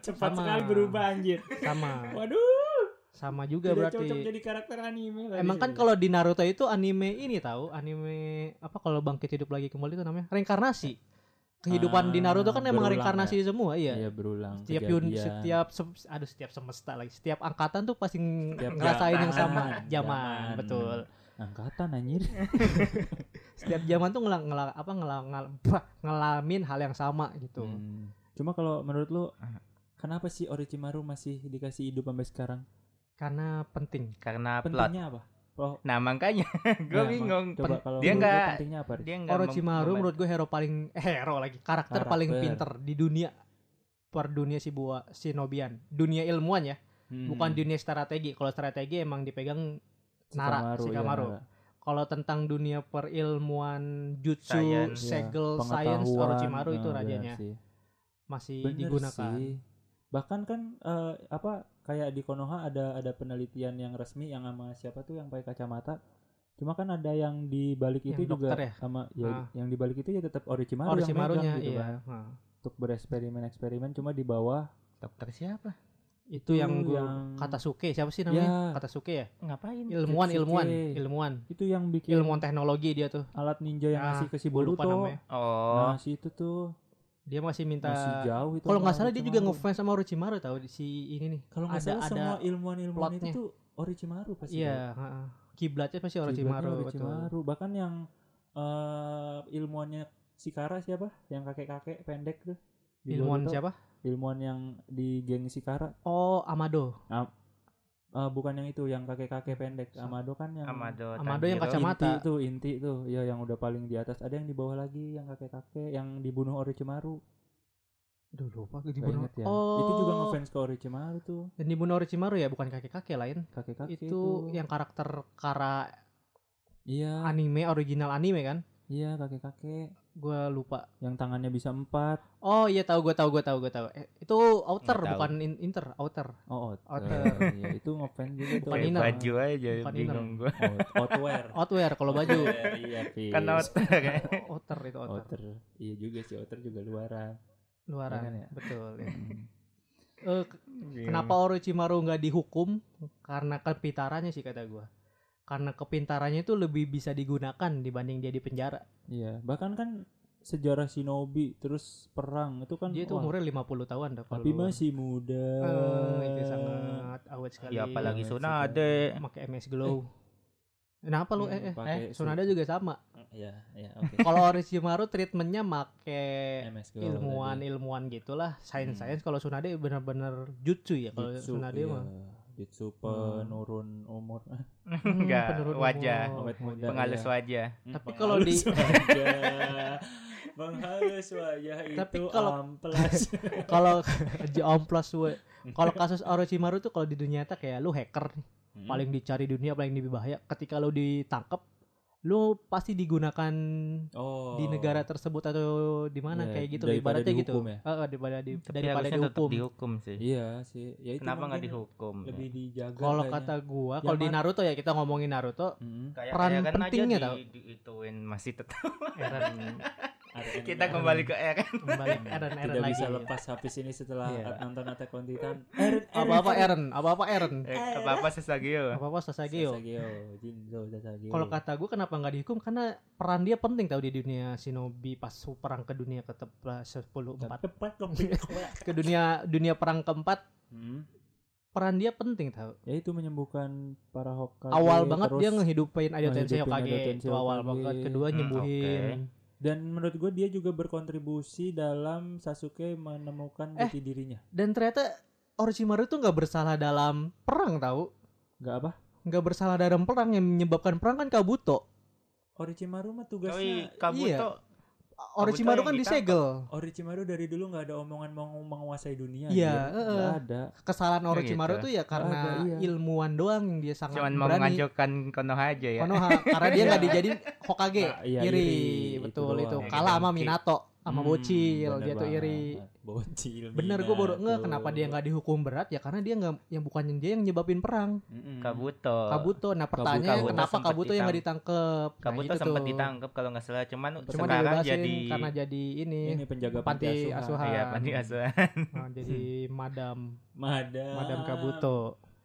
Cepat
Sama.
sekali berubah anjir.
Sama.
Waduh,
Sama juga
tidak
berarti.
cocok jadi karakter anime. lah
Emang
di
kan
sini.
kalau di Naruto itu anime ini tahu, anime apa kalau bangkit hidup lagi kembali itu namanya reinkarnasi. Kehidupan di
Ah,
Naruto kan
berulang
emang reinkarnasi semua,
iya
iya.
berulang
setiap yun,
kejadian.
setiap se- aduh setiap semesta lagi, setiap angkatan tuh pasti ng-
Setiap
ngerasain yang sama
zaman,
zaman,
zaman.
betul.
angkatan anjir.
Gitu. Setiap zaman tuh ngelang ngela- apa ngelang ngel- bah, ngelamin hal yang sama gitu.
Hmm. Cuma kalau menurut lu kenapa sih Orochimaru masih dikasih hidup sampai sekarang?
Karena penting.
Karena plot.
Pentingnya apa? Oh,
Nah makanya gue
ya, Mak.
bingung.
Coba kalau
dia
menurut lu
nggak-
pentingnya apa? Ri?
Dia nggak mem-
Orochimaru
memba-
menurut gue hero paling eh, hero lagi, karakter, paling
Karakter.
pinter di dunia per dunia si buah shinobian, dunia ilmuwan ya.
Hmm.
bukan dunia strategi. Kalau strategi emang dipegang Nara,
Shikamaru,
Shikamaru.
iya, Nara.
Kalau tentang dunia perilmuan jutsu,
Science.
segel,
Iya,
science,
pengetahuan.
Orochimaru itu
Nah, benar
rajanya.
sih.
Masih
Bener
digunakan.
sih. Bahkan kan eh, apa kayak di Konoha ada ada penelitian yang resmi yang sama siapa tuh yang pakai kacamata. Cuma kan ada yang di balik itu
Yang
juga
dokter ya?
sama ya,
Ah.
yang di balik itu ya tetap Orochimaru, yang
Orochimarunya
megang gitu
iya.
kan.
Nah,
Untuk bereksperimen-eksperimen cuma di bawah
dokter siapa?
Itu yang gue
yang-
Katasuke, siapa sih namanya?
Ya.
Katasuke ya?
Ngapain?
Ilmuwan, ilmuwan,
Katsuke.
ilmuwan.
itu yang bikin
Ilmuwan teknologi dia tuh.
alat ninja yang
Ah,
ngasih ke si
Gue lupa
Boruto.
namanya.
Oh,
Nah, si itu tuh
Dia masih minta
masih jauh itu.
kalau
sama
nggak salah dia juga
Orochimaru.
ngefans sama Orochimaru tahu si ini nih.
Kalau nggak
Ada-
salah
ada
semua ilmuwan-ilmuwan itu
plotnya.
tuh Orochimaru pasti. Ri.
Iya, heeh. Kiblatnya pasti
Kiblatnya
Orochimaru, betul.
Orochimaru. Bahkan yang eh, ilmuannya Sikara siapa? Yang kakek-kakek pendek tuh. Di
Ilmuwan
Boruto.
siapa?
Ilmuwan yang di geng Sikara.
Oh, Amado.
Eh, bukan yang itu, yang kakek-kakek pendek. Amado kan yang
Amado.
Amado yang
Tanjiro.
kacamata.
inti tuh, inti tuh. Ya yang udah paling di atas. Ada yang di bawah lagi yang kakek-kakek yang dibunuh Orochimaru.
Aduh lupa
Nggak
dibunuh.
ingat ya.
Oh.
Itu juga ngefans ke Orochimaru tuh,
Dan dibunuh Orochimaru ya, bukan kakek-kakek lain.
kakek-kakek
itu, yang karakter kara
Iya,
anime original anime kan?
iya kakek-kakek
Gua lupa.
yang tangannya bisa empat.
Oh iya tahu gua tahu gua tahu gua tahu. Eh, itu outer
Nggak tahu.
bukan in- inter, outer.
Oh,
Outer.
Iya, itu ngefans juga tuh.
Bukan
Kayak
inner.
baju aja
Bukan
bingung
inner.
gue.
Out- outwear.
Outwear kalau baju.
Outwear, iya, Fis.
Kan outer ya.
outer itu outer.
Outer. Iya juga sih, outer juga luaran.
Luaran.
Iya kan ya?
Betul. ya.
Hmm.
Eh, ke-
Iya.
kenapa Orochimaru nggak dihukum? Karena kepintarannya sih kata gua. Karena kepintarannya itu lebih bisa digunakan dibanding dia di penjara.
Iya, bahkan kan sejarah shinobi terus perang itu kan
Dia
wah,
itu umurnya 50 tahun dah kalau
tapi
lu-
masih muda.
Eh, itu sangat awet sekali.
Ya
Iya,
apalagi
Eh.
Sunade.
pakai MS Glow. Kenapa lu eh eh,
Iya, pakai su-
Sunada juga sama.
Iya, iya, oke.
Kalau Orochimaru treatmentnya make
MS Go tadi.
ilmuwan-ilmuwan gitulah, sains-sains. Kalau Sunade benar-benar jutsu ya kalau
Hmm. Jutsu,
Sunade
iya.
mah. Hmm.
Dia Jujutsu penurun umur
Enggak,
penurun
wajah.
umur.
awet muda.
Pengalus
iya.
ya.
wajah.
Hmm,
Tapi kalau di-
penghalus wajah. Iya. Penghalus wajah itu
Tapi kalau-
amplas.
kalau jomplos we. Kalau kasus Orochimaru tuh kalau di dunia nyata kayak lu hacker nih,
Hmm.
paling dicari dunia paling bahaya. Ketika lu ditangkap, lu pasti digunakan
oh.
di negara tersebut atau di mana
Iya,
kayak gitu
daripada
ibaratnya gitu.
dihukum ya?
Heeh, daripada di,
Tapi
daripada
harusnya tetap
dihukum.
dihukum sih.
Iya sih. Ya itu
Kenapa nggak
mungkin
dihukum? ya?
Lebih dijaga.
Kalau
kayaknya.
kata gua, kalau di
Zaman-
Naruto ya kita ngomongin Naruto,
Mm-mm.
Kayak
peran
Eren
pentingnya
aja
tau.
di, diituin masih tetap.
Eren
Aren-
Kita
Aren.
kembali ke Eren.
kembali ke Eren Eren
Tidak
lagi.
bisa lepas habis ini setelah
Iya.
nonton Attack on Titan.
Apa-apa Eren, apa-apa Eren.
Eh, apa-apa Sasageo.
Apa-apa Sasageo.
Sasageo, Jinzo Sasageo.
Kalau kata gue kenapa nggak dihukum karena peran dia penting tau di dunia shinobi pas perang ke dunia ke sepuluh empat
tepat keempat.
ke dunia dunia perang keempat
Hmm.
peran dia penting tau
Ya itu menyembuhkan para Hokage.
awal banget
terus-
dia ngehidupin Aido Tensei
ngehidupin Aido
Hokage
Tensei
itu awal
Hokage.
banget kedua
Hmm,
nyembuhin
Dan menurut gue dia juga berkontribusi dalam Sasuke menemukan
Eh.
jati dirinya.
dan ternyata Orochimaru tuh nggak bersalah dalam perang tau
Gak apa?
nggak bersalah dalam perang yang menyebabkan perang kan Kabuto
Orochimaru mah
Tapi
tugasnya
iya.
Kabuto
Orochimaru
yang
kan
ditangkap.
disegel
Orochimaru dari dulu nggak ada omongan mau menguasai dunia.
Iya,
anjir.
eh,
Nggak ada.
kesalahan
Oh,
Orochimaru
gitu.
tuh ya karena
Ada, iya.
ilmuwan doang yang dia sangat
cuman mau
berani
mengacaukan Konoha aja ya.
Konoha karena dia nggak dijadiin Hokage
Nah, iya,
iri,
iri.
betul
Itu
itu,
doang.
kalah sama
Oke.
Minato sama
Hmm,
bocil
bener
dia tuh iri
banget. Iya, Bocil.
bener gue baru nggak kenapa dia nggak dihukum berat ya karena dia nggak yang bukannya dia yang nyebabin perang
Kabuto.
Kabuto nah pertanyaannya
Kabuto
kenapa
sempet
Kabuto yang nggak
ditang-
ditangkep nah,
Kabuto
itu
sempat
tuh.
ditangkap kalau nggak salah, cuman
cuma
sekarang
dibebasin
jadi
karena jadi ini,
Ini penjaga
panti asuhan.
Iya, panti asuhan. Hmm.
Nah, jadi madam
Madam.
madam Kabuto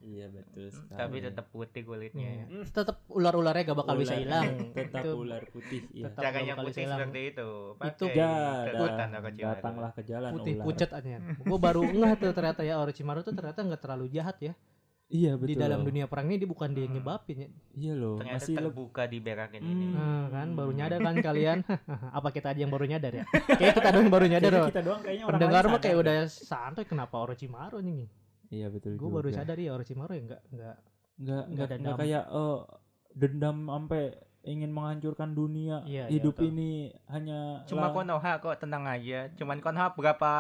Iya betul. Sekali.
Tapi tetap putih kulitnya. ya.
Iya. tetap ular-ularnya gak bakal bisa
Ular-
hilang
Tetap
Itu
ular putih. Iya.
tetap bakal
Caranya
bisa
putih
hilang.
seperti itu. Iya,
Itu
Ya,
kekuatan
datang-
aku
datanglah ke jalan
putih
ular.
pucat aja. Gue baru ngeh tuh ternyata ya Orochimaru tuh ternyata nggak terlalu jahat ya.
Iya betul.
Di dalam
loh.
dunia perang ini dia bukan dia yang
Hmm.
nyebabin ya.
Iya loh.
Ternyata
Masih lebih.
terbuka di berakin
Hmm.
ini.
Nah, kan baru
Hmm.
nyadar kan kalian. Apa kita aja yang baru nyadar ya? Kayak kita doang yang baru nyadar.
Kayaknya
loh.
kita doang kayaknya orang
Pendengar
lain
mah kayak
sadar.
udah santai kenapa Orochimaru nih.
Iya betul.
Gue
juga.
baru sadar ya Orochimaru ya enggak enggak
Nggak nggak
dendam.
nggak kayak eh, dendam sampai ingin menghancurkan dunia.
Iya, iya,
Hidup
betul.
ini hanya
Cuma
lang-
Konoha kok tenang aja. Cuman Konoha berapa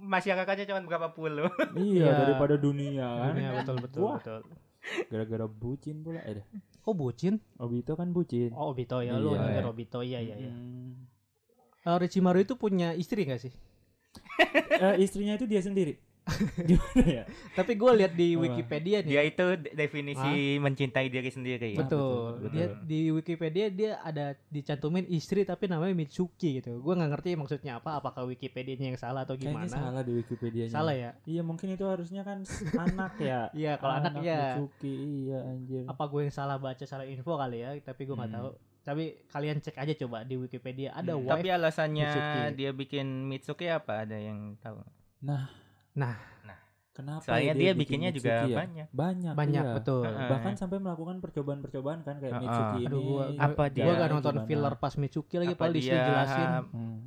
masyarakatnya cuman berapa puluh.
Iya
Iya.
daripada dunia kan.
Iya, betul betul
Wah.
betul.
Gara-gara bucin pula. Eh, dah.
Kok bucin?
Obito kan bucin.
Oh Obito ya lu
Iya.
nyindir Obito iya iya iya.
Mm.
Orochimaru itu punya istri gak sih?
Eh, istrinya itu dia sendiri. Gimana ya?
Tapi gue lihat di
Apa?
Wikipedia nih.
Dia itu de- definisi mencintai diri sendiri.
Bet-
Iya, Betul.
betul,
Dia
betul.
di Wikipedia dia ada dicantumin istri tapi namanya Mitsuki gitu. Gua nggak ngerti maksudnya apa. Apakah Wikipedianya yang salah atau
Kayaknya
gimana? Salah,
salah di Wikipedia nya.
ya.
Iya mungkin itu harusnya kan s- anak ya.
Iya kalau anak, ya.
Mitsuki, iya anjir.
Apa gue yang salah baca salah info kali ya? Tapi gue nggak
Hmm.
tahu. Tapi kalian cek aja coba di Wikipedia ada
Hmm.
wife.
Tapi alasannya
Mitsuki. ya
dia bikin Mitsuki apa? Ada yang tahu?
Kenapa? ya
Soalnya dia,
bikin
bikinnya juga
Mitsuki ya?
banyak.
banyak.
banyak
iya.
betul.
Heeh.
Bahkan sampai melakukan percobaan-percobaan kan kayak
Heeh.
Mitsuki ini.
Aduh gua
Apa dia?
Gue gak nonton
gimana?
filler pas Mitsuki lagi
Apa
paling
dia
dijelasin.
Hmm.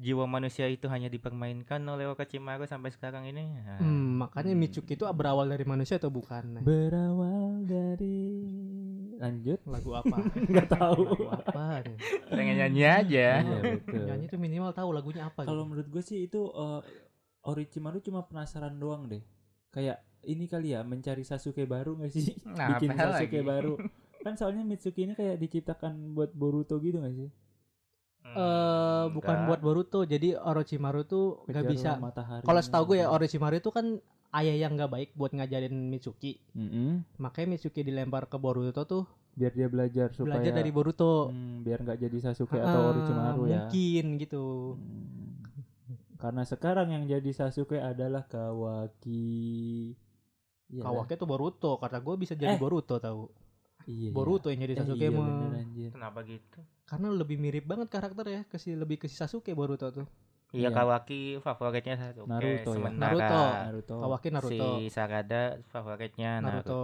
jiwa manusia itu hanya dipermainkan oleh Orochimaru sampai sekarang ini? Ah.
Hmm, makanya
Hmm.
Mitsuki itu berawal dari manusia atau bukan? Nah,
Berawal dari lanjut
Lagu apa?
nggak tahu.
Lagu apa? nih? Nah,
Pengen nyanyi aja.
Iya, betul.
Nyanyi tuh minimal tahu lagunya apa.
Kalau
gitu.
menurut gue sih itu eh, Orochimaru cuma penasaran doang deh. Kayak ini kali ya mencari Sasuke baru gak sih?
Nah,
Bikin
apa
Sasuke
lagi?
baru. Kan soalnya Mitsuki ini kayak diciptakan buat Boruto gitu gak sih?
Hmm,
eh bukan
enggak.
buat Boruto jadi Orochimaru tuh nggak
Kejarlah
bisa
matahari.
kalau setahu gue ya Orochimaru itu kan ayah yang nggak baik buat ngajarin Mitsuki
Mm-mm.
makanya Mitsuki dilempar ke Boruto tuh
biar dia belajar supaya
belajar dari Boruto
Hmm, biar nggak jadi Sasuke atau
Ah,
Orochimaru ya.
mungkin gitu
Hmm. Karena sekarang yang jadi Sasuke adalah Kawaki. Iya lah.
Kawake tuh Boruto kata gue bisa jadi
Eh.
Boruto tahu
Iya. iya.
Boruto yang
Eh,
jadi Sasuke
iya,
mah.
bener, anjir.
Kenapa gitu?
karena lebih mirip banget karakter ya ke si- lebih ke si Sasuke Boruto tuh
Iya.
Iya Kawaki favoritnya Sasuke.
Naruto ya?
Sementara
Naruto.
Naruto.
Kawaki Naruto
Si Sarada favoritnya Naruto.
Naruto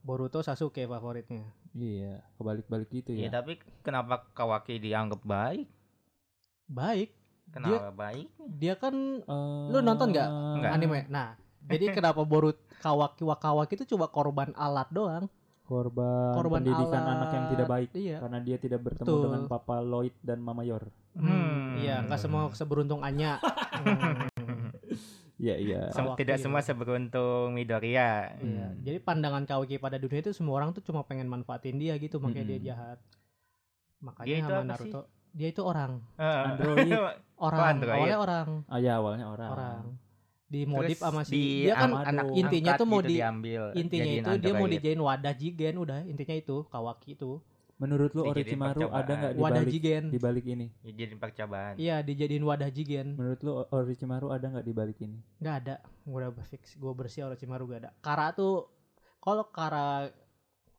Boruto Sasuke favoritnya
Iya, kebalik-balik gitu
Iya
ya.
tapi kenapa Kawaki dianggap baik?
baik
Kenapa baik?
dia kan
Eh,
Lu nonton nggak?
Nggak.
anime nah jadi kenapa Boruto kawaki wakawaki itu cuma korban alat doang
korban,
korban
pendidikan
alat.
anak yang tidak baik
iya
karena dia tidak bertemu
Betul.
dengan Papa Lloyd dan Mama Yor.
Hmm.
iya nggak semua seberuntung Anya Hmm.
Iya iya.
Sem-
Kawaki,
tidak
ya.
semua seberuntung Midoriya.
Iya,
Hmm.
jadi pandangan Kawaki pada dunia itu semua orang tuh cuma pengen manfaatin dia gitu, makanya
Mm-mm.
dia jahat. Makanya
Dia itu
sama
apa sih?
Naruto, dia itu orang,
Eh,
Android.
orang,
android.
awalnya orang,
Ah ya awalnya orang.
orang. Dimodif
terus
sama
di-
si dia kan
am-
anak
intinya
angkat
tuh mau
gitu
di-
diambil
intinya
jadiin
itu dia mau
android.
gitu.
dijadiin wadah jigen udah, intinya itu Kawaki itu,
Menurut lu
Dijadiin
Orochimaru
percobaan.
ada nggak di
wadah
balik
jigen.
di balik ini?
Dijadiin percobaan.
Iya, dijadiin wadah jigen.
Menurut lu Orochimaru ada nggak di balik ini?
Gak ada. Gua udah fix, gua bersih Orochimaru gak ada. Kara tuh kalau Kara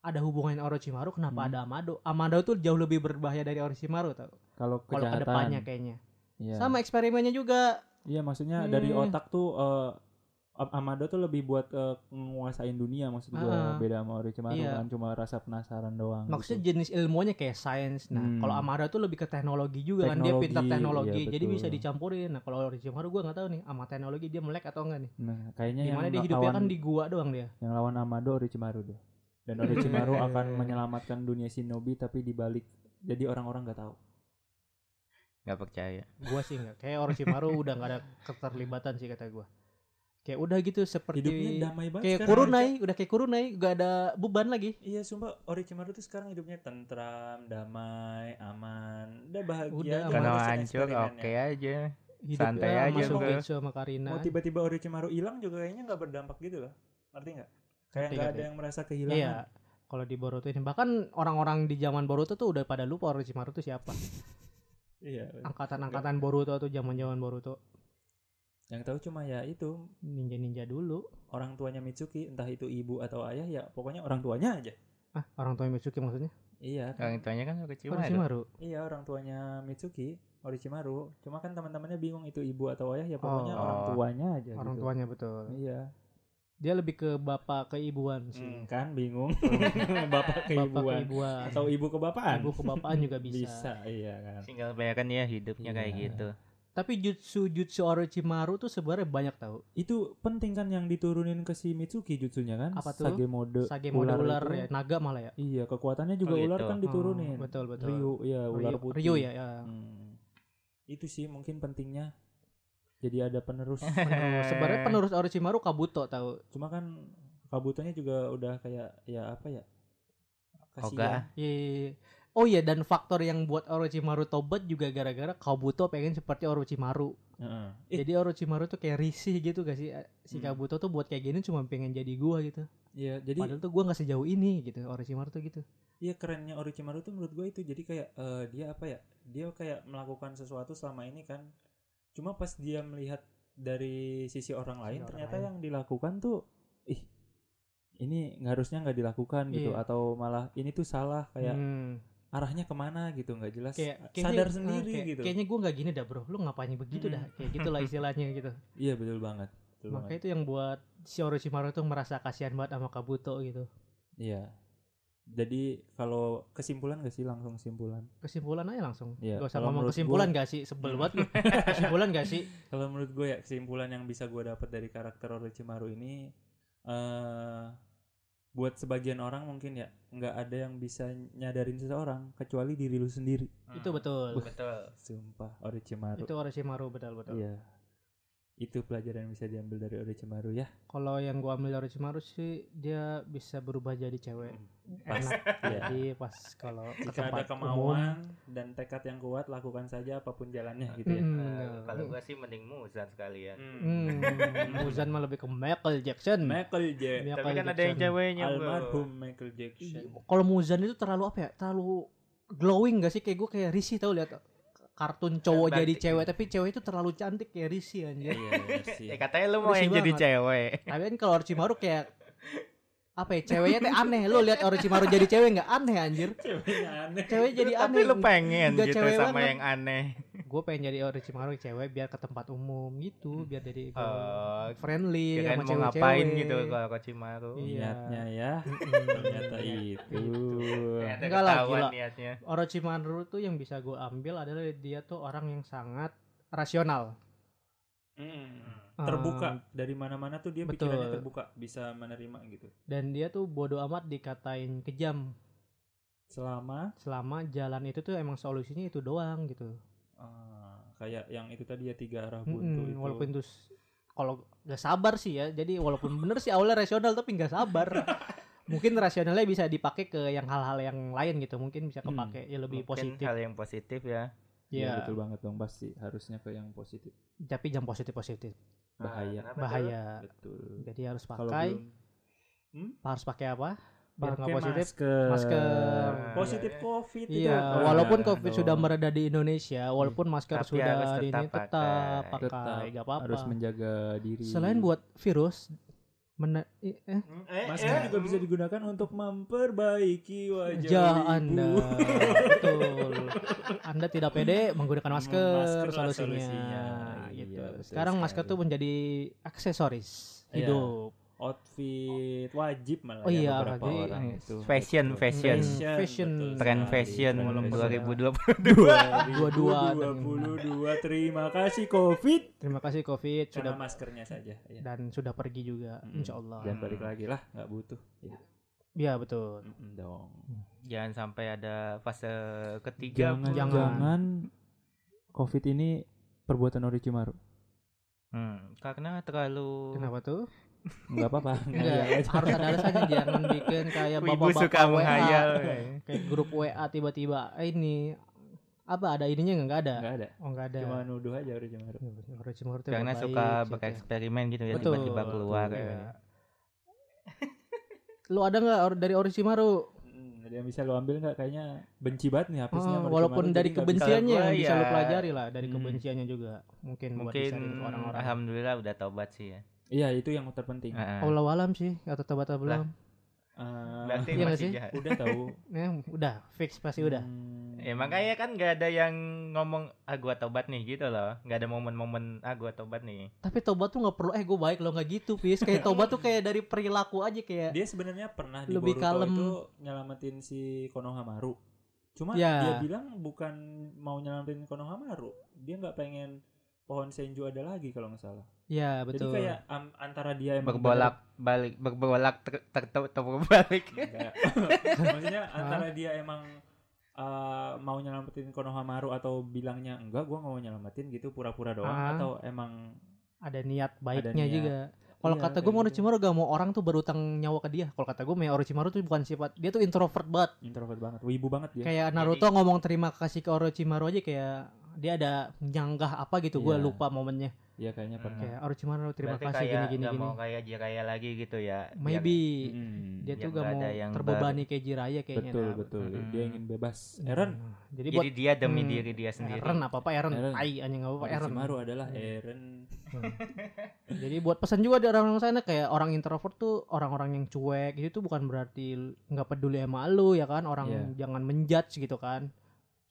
ada hubungan Orochimaru kenapa
Hmm.
ada Amado? Amado tuh jauh lebih berbahaya dari Orochimaru tau.
Kalau
Kalau
kejahatan.
kedepannya kayaknya.
Iya.
Sama eksperimennya juga.
Iya maksudnya dari
Hmm.
otak tuh eh, Am- Amado tuh lebih buat eh, nguasain dunia maksud gua
Ah.
beda sama Orochimaru
Iya.
kan cuma rasa penasaran doang. gitu.
Maksudnya jenis ilmunya kayak sains. Nah,
Hmm.
kalau Amada tuh lebih ke teknologi juga kan dia
Teknologi,
pintar teknologi.
iya,
jadi
betul.
bisa dicampurin. Nah, kalau Orochimaru gua nggak tahu nih sama teknologi dia melek atau enggak nih.
Nah, kayaknya
Gimana dia
yang
hidupnya
lawan,
kan di gua doang dia.
yang lawan Amado Orochimaru deh. Dan Orochimaru akan menyelamatkan dunia shinobi tapi dibalik jadi orang-orang nggak tahu.
Gak percaya.
Gua sih enggak. Kayak Orochimaru udah nggak ada keterlibatan sih kata gua. Kayak udah gitu seperti
Hidupnya damai banget.
kayak
sekarang,
kurunai,
Orochi-
udah kayak kurunai, gak ada beban lagi.
Iya sumpah Orochimaru tuh sekarang hidupnya tentram, damai, aman, udah bahagia.
Udah,
aja
aman.
Kalau
ngurusin
hancur oke
eksperimennya.
aja.
Hidup
Santai
ya,
aja
masuk
gua.
Getsu sama Karina.
Mau tiba-tiba Orochimaru hilang juga kayaknya nggak berdampak gitu loh. Ngerti nggak? Kayak
Ngerti,
nggak ada
ngerti.
yang merasa kehilangan.
Iya. Kalau di Boruto ini bahkan orang-orang di zaman Boruto tuh udah pada lupa Orochimaru tuh siapa.
Iya.
Angkatan-angkatan Boruto tuh zaman-zaman Boruto
Yang tahu cuma ya itu
ninja-ninja dulu.
orang tuanya Mitsuki, entah itu ibu atau ayah ya pokoknya orang tuanya aja.
Ah, orang tua Mitsuki maksudnya?
Iya.
Orang tuanya kan suka ciuman.
Orochimaru.
Iya orang tuanya Mitsuki Orochimaru Cuma kan teman-temannya bingung itu ibu atau ayah ya pokoknya
Oh.
orang tuanya aja
Orang
gitu.
tuanya betul.
Iya
Dia lebih ke bapak keibuan sih.
Hmm, Kan bingung Bapak
Bapak
keibuan
keibuan.
Atau ibu kebapaan
Ibu kebapaan juga bisa.
iya kan
Tinggal bayangkan ya hidupnya kayak
Iya.
gitu.
Tapi jutsu-jutsu Orochimaru tuh sebenarnya banyak tahu.
Itu penting kan yang diturunin ke si Mitsuki jutsunya kan
Apa tuh?
Sage mode
Sage mode ular,
itu.
ya, naga malah ya.
Iya kekuatannya juga
Oh,
ular
gitu.
kan diturunin
Hmm, betul, betul.
Ryu ya ular
Ryu,
putih
Ryu ya, ya.
Hmm. Itu sih mungkin pentingnya Jadi ada penerus Eh.
Penerus. Sebenarnya penerus Orochimaru Kabuto tahu.
Cuma kan kabutonya juga udah kayak ya apa ya?
Oga.
Iya. Oh iya dan faktor yang buat Orochimaru tobat juga gara-gara Kabuto pengen seperti Orochimaru.
Heeh. Eh,
Jadi Orochimaru tuh kayak risih gitu gak sih? Eh, Si
Hmm.
Kabuto tuh buat kayak gini cuma pengen jadi gua gitu.
ya jadi
Padahal tuh gua nggak sejauh ini gitu. Orochimaru tuh gitu.
iya kerennya Orochimaru tuh menurut gue itu jadi kayak eh, dia apa ya? Dia kayak melakukan sesuatu selama ini kan. Cuma pas dia melihat dari sisi orang
Sisi
lain
orang
ternyata
lain.
yang dilakukan tuh ih ini nggak harusnya nggak dilakukan gitu
Iya.
atau malah ini tuh salah kayak
Hmm.
arahnya kemana gitu nggak jelas
Kayak kayaknya-
sadar
ah,
sendiri
kayak-
gitu
Kayaknya gua nggak gini dah, Bro. Lu ngapain begitu
Mm-mm.
dah? Kayak gitulah istilahnya gitu.
iya betul banget betul
Makanya
banget.
itu yang buat si Orochimaru tuh merasa kasihan banget sama Kabuto gitu.
iya jadi kalau kesimpulan gak sih langsung kesimpulan
Kesimpulan aja langsung.
Iya,
Gak usah
kalau
ngomong
menurut Hmm.
kesimpulan gak sih? Sebel banget lu. kesimpulan gak sih?
Kalau menurut gue ya kesimpulan yang bisa gue dapat dari karakter Orochimaru ini eh buat sebagian orang mungkin ya nggak ada yang bisa nyadarin seseorang kecuali diri lu sendiri.
Itu betul.
Hmm, Betul.
Sumpah Orochimaru.
Itu Orochimaru betul-betul.
Iya. Itu pelajaran yang bisa diambil dari Orochimaru ya.
Kalau yang gua ambil dari Orochimaru sih dia bisa berubah jadi cewek.
Pasti. ya.
Jadi pas kalau ke
Jika ada
tempat umum,
kemauan dan tekad yang kuat lakukan saja apapun jalannya gitu ya.
Mm-mm.
Eh, Kalau gua sih mending Muzan sekalian.
Hmm.
Hmm, Muzan mah lebih ke Michael Jackson.
Michael Jackson.
Michael
Tapi kan ada yang
Jackson.
ceweknya bro.
Almarhum Michael Jackson.
Iya, Kalau Muzan itu terlalu apa ya? Terlalu glowing gak sih? Kayak gue kayak risih tau lihat kartun cowok jadi
Cantik.
cewek tapi cewek itu terlalu cantik kayak risih anjir.
Iya sih.
Ya katanya lu mau
Bersih
yang jadi
banget.
cewek.
Tapi kan kalau Orochimaru kayak apa ya? Ceweknya teh aneh. Lo lihat Orochimaru jadi cewek nggak aneh anjir?
Ceweknya aneh.
Cewek jadi
Tapi
Iya, aneh.
lu pengen
Nggak
gitu
cewek
sama
banget.
yang aneh.
Gue pengen jadi Orochimaru cewek biar ke tempat umum gitu, biar jadi
Oh,
friendly
kirain
Iya, sama
mau
cewek-cewek.
ngapain gitu kalau Kochimaru.
Iya.
niatnya ya
Mm-mm.
ternyata
iya.
itu
Ternyata
Enggak lah,
Eh, ketahuan
gila.
niatnya.
Orochimaru tuh yang bisa gue ambil adalah dia tuh orang yang sangat rasional.
Mm. terbuka dari mana-mana tuh dia pikirannya
Hmm. betul.
terbuka bisa menerima gitu
dan dia tuh bodoh amat dikatain kejam
selama
selama jalan itu tuh emang solusinya itu doang gitu
eh, kayak yang itu tadi ya tiga arah buntu
Mm-mm,
itu
Hmm, walaupun itu s- kalau nggak sabar sih ya jadi walaupun bener sih awalnya rasional tapi nggak sabar mungkin rasionalnya bisa dipakai ke yang hal-hal yang lain gitu mungkin bisa
Hmm,
kepake ya lebih
Mungkin
positif
hal yang positif ya
Iya,
ya
betul banget dong pasti harusnya ke yang positif
tapi jangan positif positif
bahaya
Nah, kenapa tuh?
bahaya
betul
jadi harus
kalau
pakai
belum-
harus pakai apa biar nggak
pakai
positif
masker.
masker
Nah,
positif
ya.
covid itu
Iya,
apa?
walaupun
Jangan
COVID
dong.
sudah mereda di Indonesia, walaupun masker
Tapi harus
sudah di ini
tetap
tetap
pakai.
Tetap
pakai, nggak apa-apa.
harus menjaga diri
Selain buat virus, mena- i- eh,
Eh,
masker
eh,
juga bisa digunakan untuk memperbaiki wajah
jah
ibu.
Iya, Anda, betul. Anda tidak pede menggunakan masker,
Masker lah
solusinya,
solusinya. Iya,
gitu.
betul
Sekarang masker
sekali.
tuh menjadi aksesoris
Iya.
hidup.
outfit wajib malah
Oh
ya
iya,
beberapa
jadi,
orang
eh,
itu
fashion,
Betul.
fashion.
Fashion,
Fashion.
betul
tren
sekali.
fashion
Tren
Belum
fashion.
2022
gitu. Dua-dua.
2022 terima kasih covid
Terima kasih COVID
sudah
sudah
maskernya saja ya.
dan sudah pergi juga,
Mm.
Insya Allah.
jangan balik lagi lah nggak butuh ya.
Iya betul.
mm-mm dong
jangan sampai ada fase ketiga
jangan
jangan.
jangan, covid ini perbuatan Orochimaru
Hmm, karena terlalu
Kenapa tuh?
nggak apa-apa
Enggak, Iya, harus ada alasannya jangan bikin kayak
Wibu
bapak-bapak
Iya. suka
WA,
menghayal ya.
kayak grup WA tiba-tiba eh, ini apa ada ininya nggak nggak ada
nggak ada
oh nggak ada Iya,
cuma nuduh aja Orochimaru
Orochimaru tuh
karena
baik,
suka
gitu.
bereksperimen gitu ya
Betul,
tiba-tiba
betul,
keluar
iya.
ya.
lu ada nggak or- dari Orochimaru
Mm, ada yang bisa lo ambil nggak kayaknya benci banget nih
Oh,
habisnya
walaupun dari kebenciannya
Kalau
yang
gua
bisa lu
ya-
pelajari lah dari
Hmm.
kebenciannya juga mungkin, buat
mungkin
bisa gitu orang-orang
alhamdulillah udah taubat sih ya
iya itu yang terpenting
Heeh.
Allah alam sih atau tabata belum
Eh,
berarti
iya nggak
masih
sih?
jahat
udah tahu
ya udah fix pasti udah
Hmm.
ya makanya kan gak ada yang ngomong ah gua taubat nih gitu loh gak ada momen-momen ah gua taubat nih
tapi tobat tuh nggak perlu eh gue baik lo nggak gitu Fis kayak tobat tuh kayak dari perilaku aja kayak
dia sebenarnya pernah di
Lebih
Boruto
kalem.
itu nyelamatin si Konohamaru. Cuma
Ya.
dia bilang bukan mau nyelamatin Konohamaru, dia nggak pengen pohon senju ada lagi kalau nggak salah.
ya
Jadi
betul
kayak am- antara dia emang
berbolak balik berbolak ter, ter, ter, terbalik
bener- Nggak. Maksudnya antara dia emang uh, mau nyelamatin Konohamaru atau bilangnya enggak gua nggak mau nyelamatin gitu pura-pura doang
Ah.
atau emang
ada niat baiknya
niat.
juga. Kalau
Iya,
kata
kayak
gue mau
gitu.
Orochimaru gak mau orang tuh berutang nyawa ke dia. Kalau kata gue mau Orochimaru tuh bukan sifat dia tuh introvert banget.
introvert banget, wibu banget dia.
Kayak Naruto
iya.
ngomong terima kasih ke Orochimaru aja kayak dia ada nyanggah apa gitu gue
Iya.
lupa momennya.
Iya kayaknya pernah.
Kayak Orochimaru terima
Berarti
kasih
kayak
gini gini
nggak
gini.
mau kayak Jiraiya lagi gitu ya biar-
Maybe
Mm.
dia
Biar
tuh gak
nggak
mau
ada yang
terbebani kayak Jiraiya kayaknya.
betul
nah.
betul.
Mm.
Dia ingin bebas.
Nah,
Eren,
Jadi buat
jadi dia demi
Hmm.
diri dia sendiri
Eren apa apa Eren.
Eren.
Ai anjing apa apa Oh, Eren.
Orochimaru adalah
Hmm.
Eren
Jadi buat pesan juga dari orang-orang sana kayak orang introvert tuh orang-orang yang cuek itu tuh bukan berarti l- nggak peduli sama lu ya kan orang
Iya.
jangan menjudge gitu kan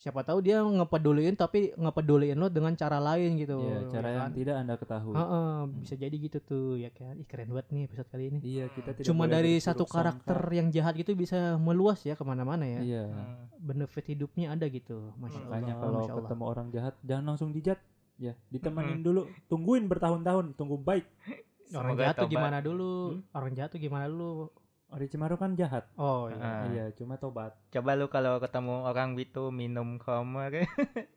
siapa tahu dia ngepeduliin tapi ngepeduliin lu dengan cara lain gitu
Iya, cara
ya
yang
kan?
tidak Anda ketahui.
Heeh, bisa jadi gitu tuh ya kan Ih, keren banget nih episode kali ini
Iya, kita tidak
cuma
boleh
dari
berburuk
satu karakter
sangka.
yang jahat gitu bisa meluas ya kemana-mana ya
Iya.
Hmm.
benefit hidupnya ada gitu masya Allah
Makanya kalau
masya Allah.
ketemu orang jahat jangan langsung dijat. Ya, ditemenin dulu. Tungguin bertahun-tahun, tunggu baik.
orang
Semoga Hmm?
jahat tuh
tobat.
gimana dulu orang jahat tuh gimana dulu
Orochimaru kan jahat.
oh iya.
Ah.
Iya, cuma tobat.
coba lu kalau ketemu orang gitu minum koma
itu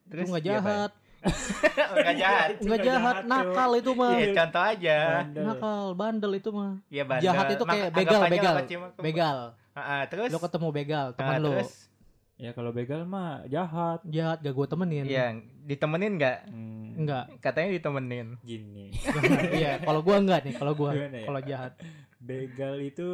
terus ya?
nggak
dia apa?
jahat Iya.
nggak jahat
Nggak jahat, nakal itu mah.
Iya, contoh aja.
Bandel.
Nakal, bandel itu mah.
Ya, bandel.
Jahat itu
Maka
kayak begal,
anggapannya
begal.
orang cuma-
Begal.
Ah, ah, terus
Lo ketemu begal,
ah,
teman lo.
terus,
Ya kalau begal mah jahat.
Jahat gak gue temenin.
Iya, ditemenin nggak?
Hmm,
Enggak.
Katanya ditemenin.
gini.
Iya, kalau gua enggak nih, kalau gua
Gimana ya?
kalau jahat.
Begal itu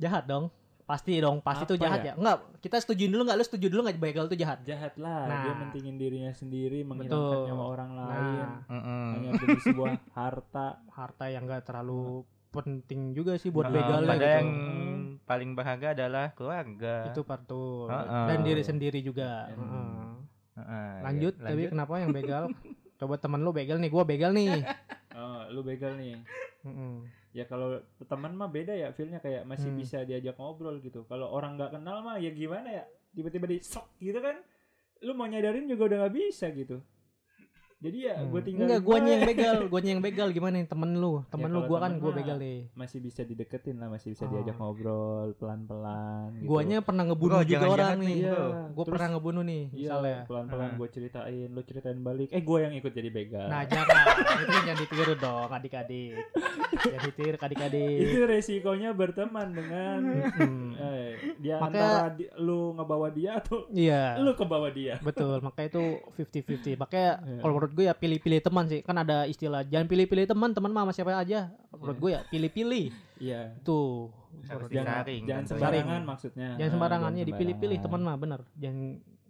Jahat dong. Pasti dong, pasti
Apa
tuh jahat
ya?
ya? Enggak, kita setujuin dulu enggak? Lo setuju dulu enggak begal tuh jahat?
jahat lah. Dia
Nah.
mentingin dirinya sendiri, menghilangkan
Betul.
nyawa orang lain.
Nah,
Mm-mm.
Hanya demi sebuah harta.
harta yang enggak terlalu penting juga sih buat
Ah,
begalnya
padahal
gitu.
yang paling bahagia adalah keluarga.
Itu partul.
Ah, ah.
Dan diri sendiri juga.
Hmm.
Heeh.
Ah,
Lanjut,
ya,
tapi kenapa yang begal? Coba teman lo begal nih, gua begal nih.
Oh, lu begal nih.
Heeh.
ya kalau teman mah beda ya feelnya kayak masih
Hmm.
bisa diajak ngobrol gitu kalau orang nggak kenal mah ya gimana ya tiba-tiba di sok gitu kan lu mau nyadarin juga udah nggak bisa gitu
Jadi ya
Hmm.
gue tinggal
Enggak, guanya yang begal, guanya yang begal gimana nih temen lu? Temen
Ya,
lu
kalau
gua kan
temen
gua
mah- gitu.
begal nih.
masih bisa dideketin lah masih bisa
Ah.
diajak ngobrol pelan-pelan gitu.
Guanya pernah ngebunuh
Bro,
juga
jangan-jangan
orang nih.
nih,
Gua
bro.
Iya. terus-
pernah ngebunuh nih
Iya,
misalnya.
pelan-pelan
Ah.
gue ceritain lu ceritain balik eh gue yang ikut jadi begal
Nah, jangan. Itu jangan ditiru dong adik-adik. Jangan ditiru adik-adik.
itu resikonya berteman dengan
Mm-mm.
eh, dia antara
Maka-
di- lu ngebawa dia atau
Iya.
lu kebawa dia
Betul, makanya itu 50-50. Makanya
Iya.
kalau menurut gue ya pilih-pilih teman sih. Kan ada istilah jangan pilih-pilih teman, teman mah sama siapa aja. Menurut
Iya.
gue ya pilih-pilih.
iya
Tuh.
Harus
Menurut gue.
jangan
disaring,
jangan
tentunya.
sembarangan maksudnya
Jangan
Ah,
sembarangannya
jangan
dipilih-pilih teman
sembarangan.
mah bener. Jangan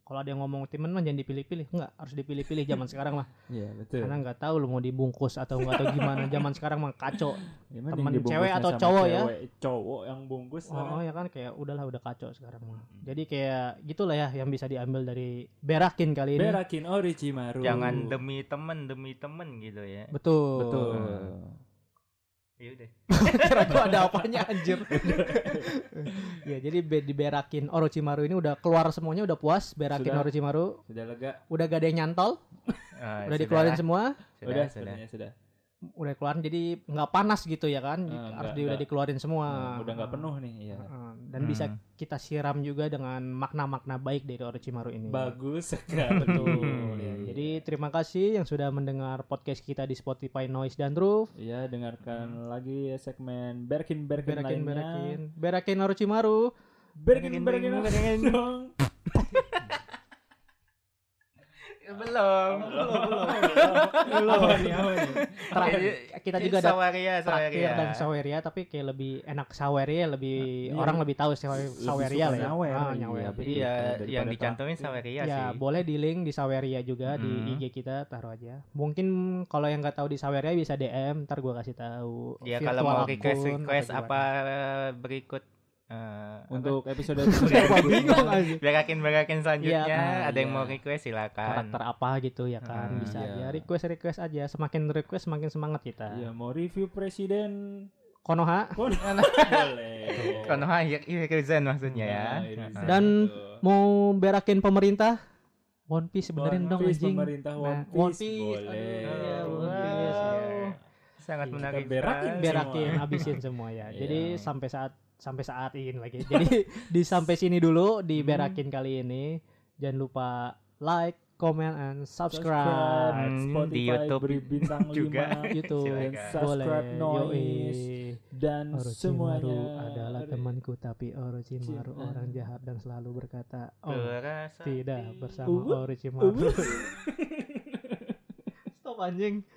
kalau ada yang ngomong teman mah jangan dipilih-pilih. Enggak, harus dipilih-pilih zaman sekarang mah.
iya betul
Karena nggak tahu lu mau dibungkus atau nggak tahu gimana zaman sekarang mah kacau.
Ya, mending
teman
dibungkusnya
cewek atau
sama
cowok ya?
cewek. cowok yang bungkus
Oh, ya kan kayak udahlah udah kacau sekarang mah.
Hmm.
Jadi kayak gitulah ya yang bisa diambil dari berakin kali ini.
berakin orici maru
Jangan demi temen demi temen gitu ya.
Betul.
betul
Iya deh.
Kira gua ada apanya anjir. ya jadi be- diberakin Orochimaru ini udah keluar semuanya udah puas berakin
Sudah. Nah,
Orochimaru.
sudah lega
Udah gak ada yang nyantol, udah dikeluarin semua,
sudah
Ah, Sudah, sudah.
sebenarnya sudah
udah keluarin jadi nggak panas gitu ya kan.
Eh,
Harus
nggak-
di- udah
nggak.
dikeluarin semua.
Nah, udah nggak penuh nih ya
Heeh, Dan bisa
Hmm.
kita siram juga dengan makna-makna baik dari Orochimaru ini.
bagus sekali
Betul.
Iya.
Jadi terima kasih yang sudah mendengar podcast kita di Spotify Noise dan Roof.
Iya, dengarkan lagi ya segmen Berkin Berkin
Berakin,
lainnya.
berakin, berakin Orochimaru.
Berkin Berkin
Berkin,
Berkin dong.
Belum.
Apa nih, apa nih?
Terakhir
Iya.
kita juga ada
Sawaria,
ya,
terakhir
Sawaria.
dan saweria tapi kayak lebih enak saweria lebih
Iya.
orang lebih tahu sih saweria
suka
lah ya
nyawer.
Ah,
Iya,
nyawer.
betul.
Iya,
Daripada
yang
tak-
dicantumin Sawaria
ya
Iya sih.
boleh di link di saweria juga di
Hmm.
IG kita taruh aja mungkin kalau yang nggak tahu di saweria bisa DM ntar gua kasih tahu
Ya
Virtual
kalau mau
akun
request
atau
request
gimana.
apa berikut eh, apa?
Untuk episode
Gua bingung aja
berakin berakin selanjutnya
kan,
ada yang
iya.
mau request silakan.
karakter apa gitu ya kan
Hmm,
bisa
iya.
aja request request aja semakin request semakin semangat kita
Iya, mau review presiden
Konoha
pun boleh.
Konoha Yak- Yakuzen maksudnya ya.
Nah, Irisan
Dan
itu.
mau berakin pemerintah One Piece
One
benerin dong
Piece,
anjing
pemerintah One
Nah,
Piece,
One Piece,
boleh.
aduh, iya,
Wow.
One Piece, ya.
Sangat
Iya,
menarik.
kita berakin,
sekali.
berakin
semua.
habisin semua ya.
Iya.
Jadi sampai saat sampai saat ini lagi. Jadi di sampai sini dulu di
Hmm.
berakin kali ini. Jangan lupa like, comment and
Subscribe,
subscribe.
Hmm,
Spotify,
di YouTube
beri bintang
juga.
5
YouTube
Dan
Silakan.
subscribe
boleh.
noise
Yoi.
dan semuanya
Orochimaru adalah temanku tapi Orochimaru
Cina.
orang jahat dan selalu berkata oh
Berasa
tidak
Uhuh.
di-
bersama
Uwu.
Orochimaru. Stop anjing.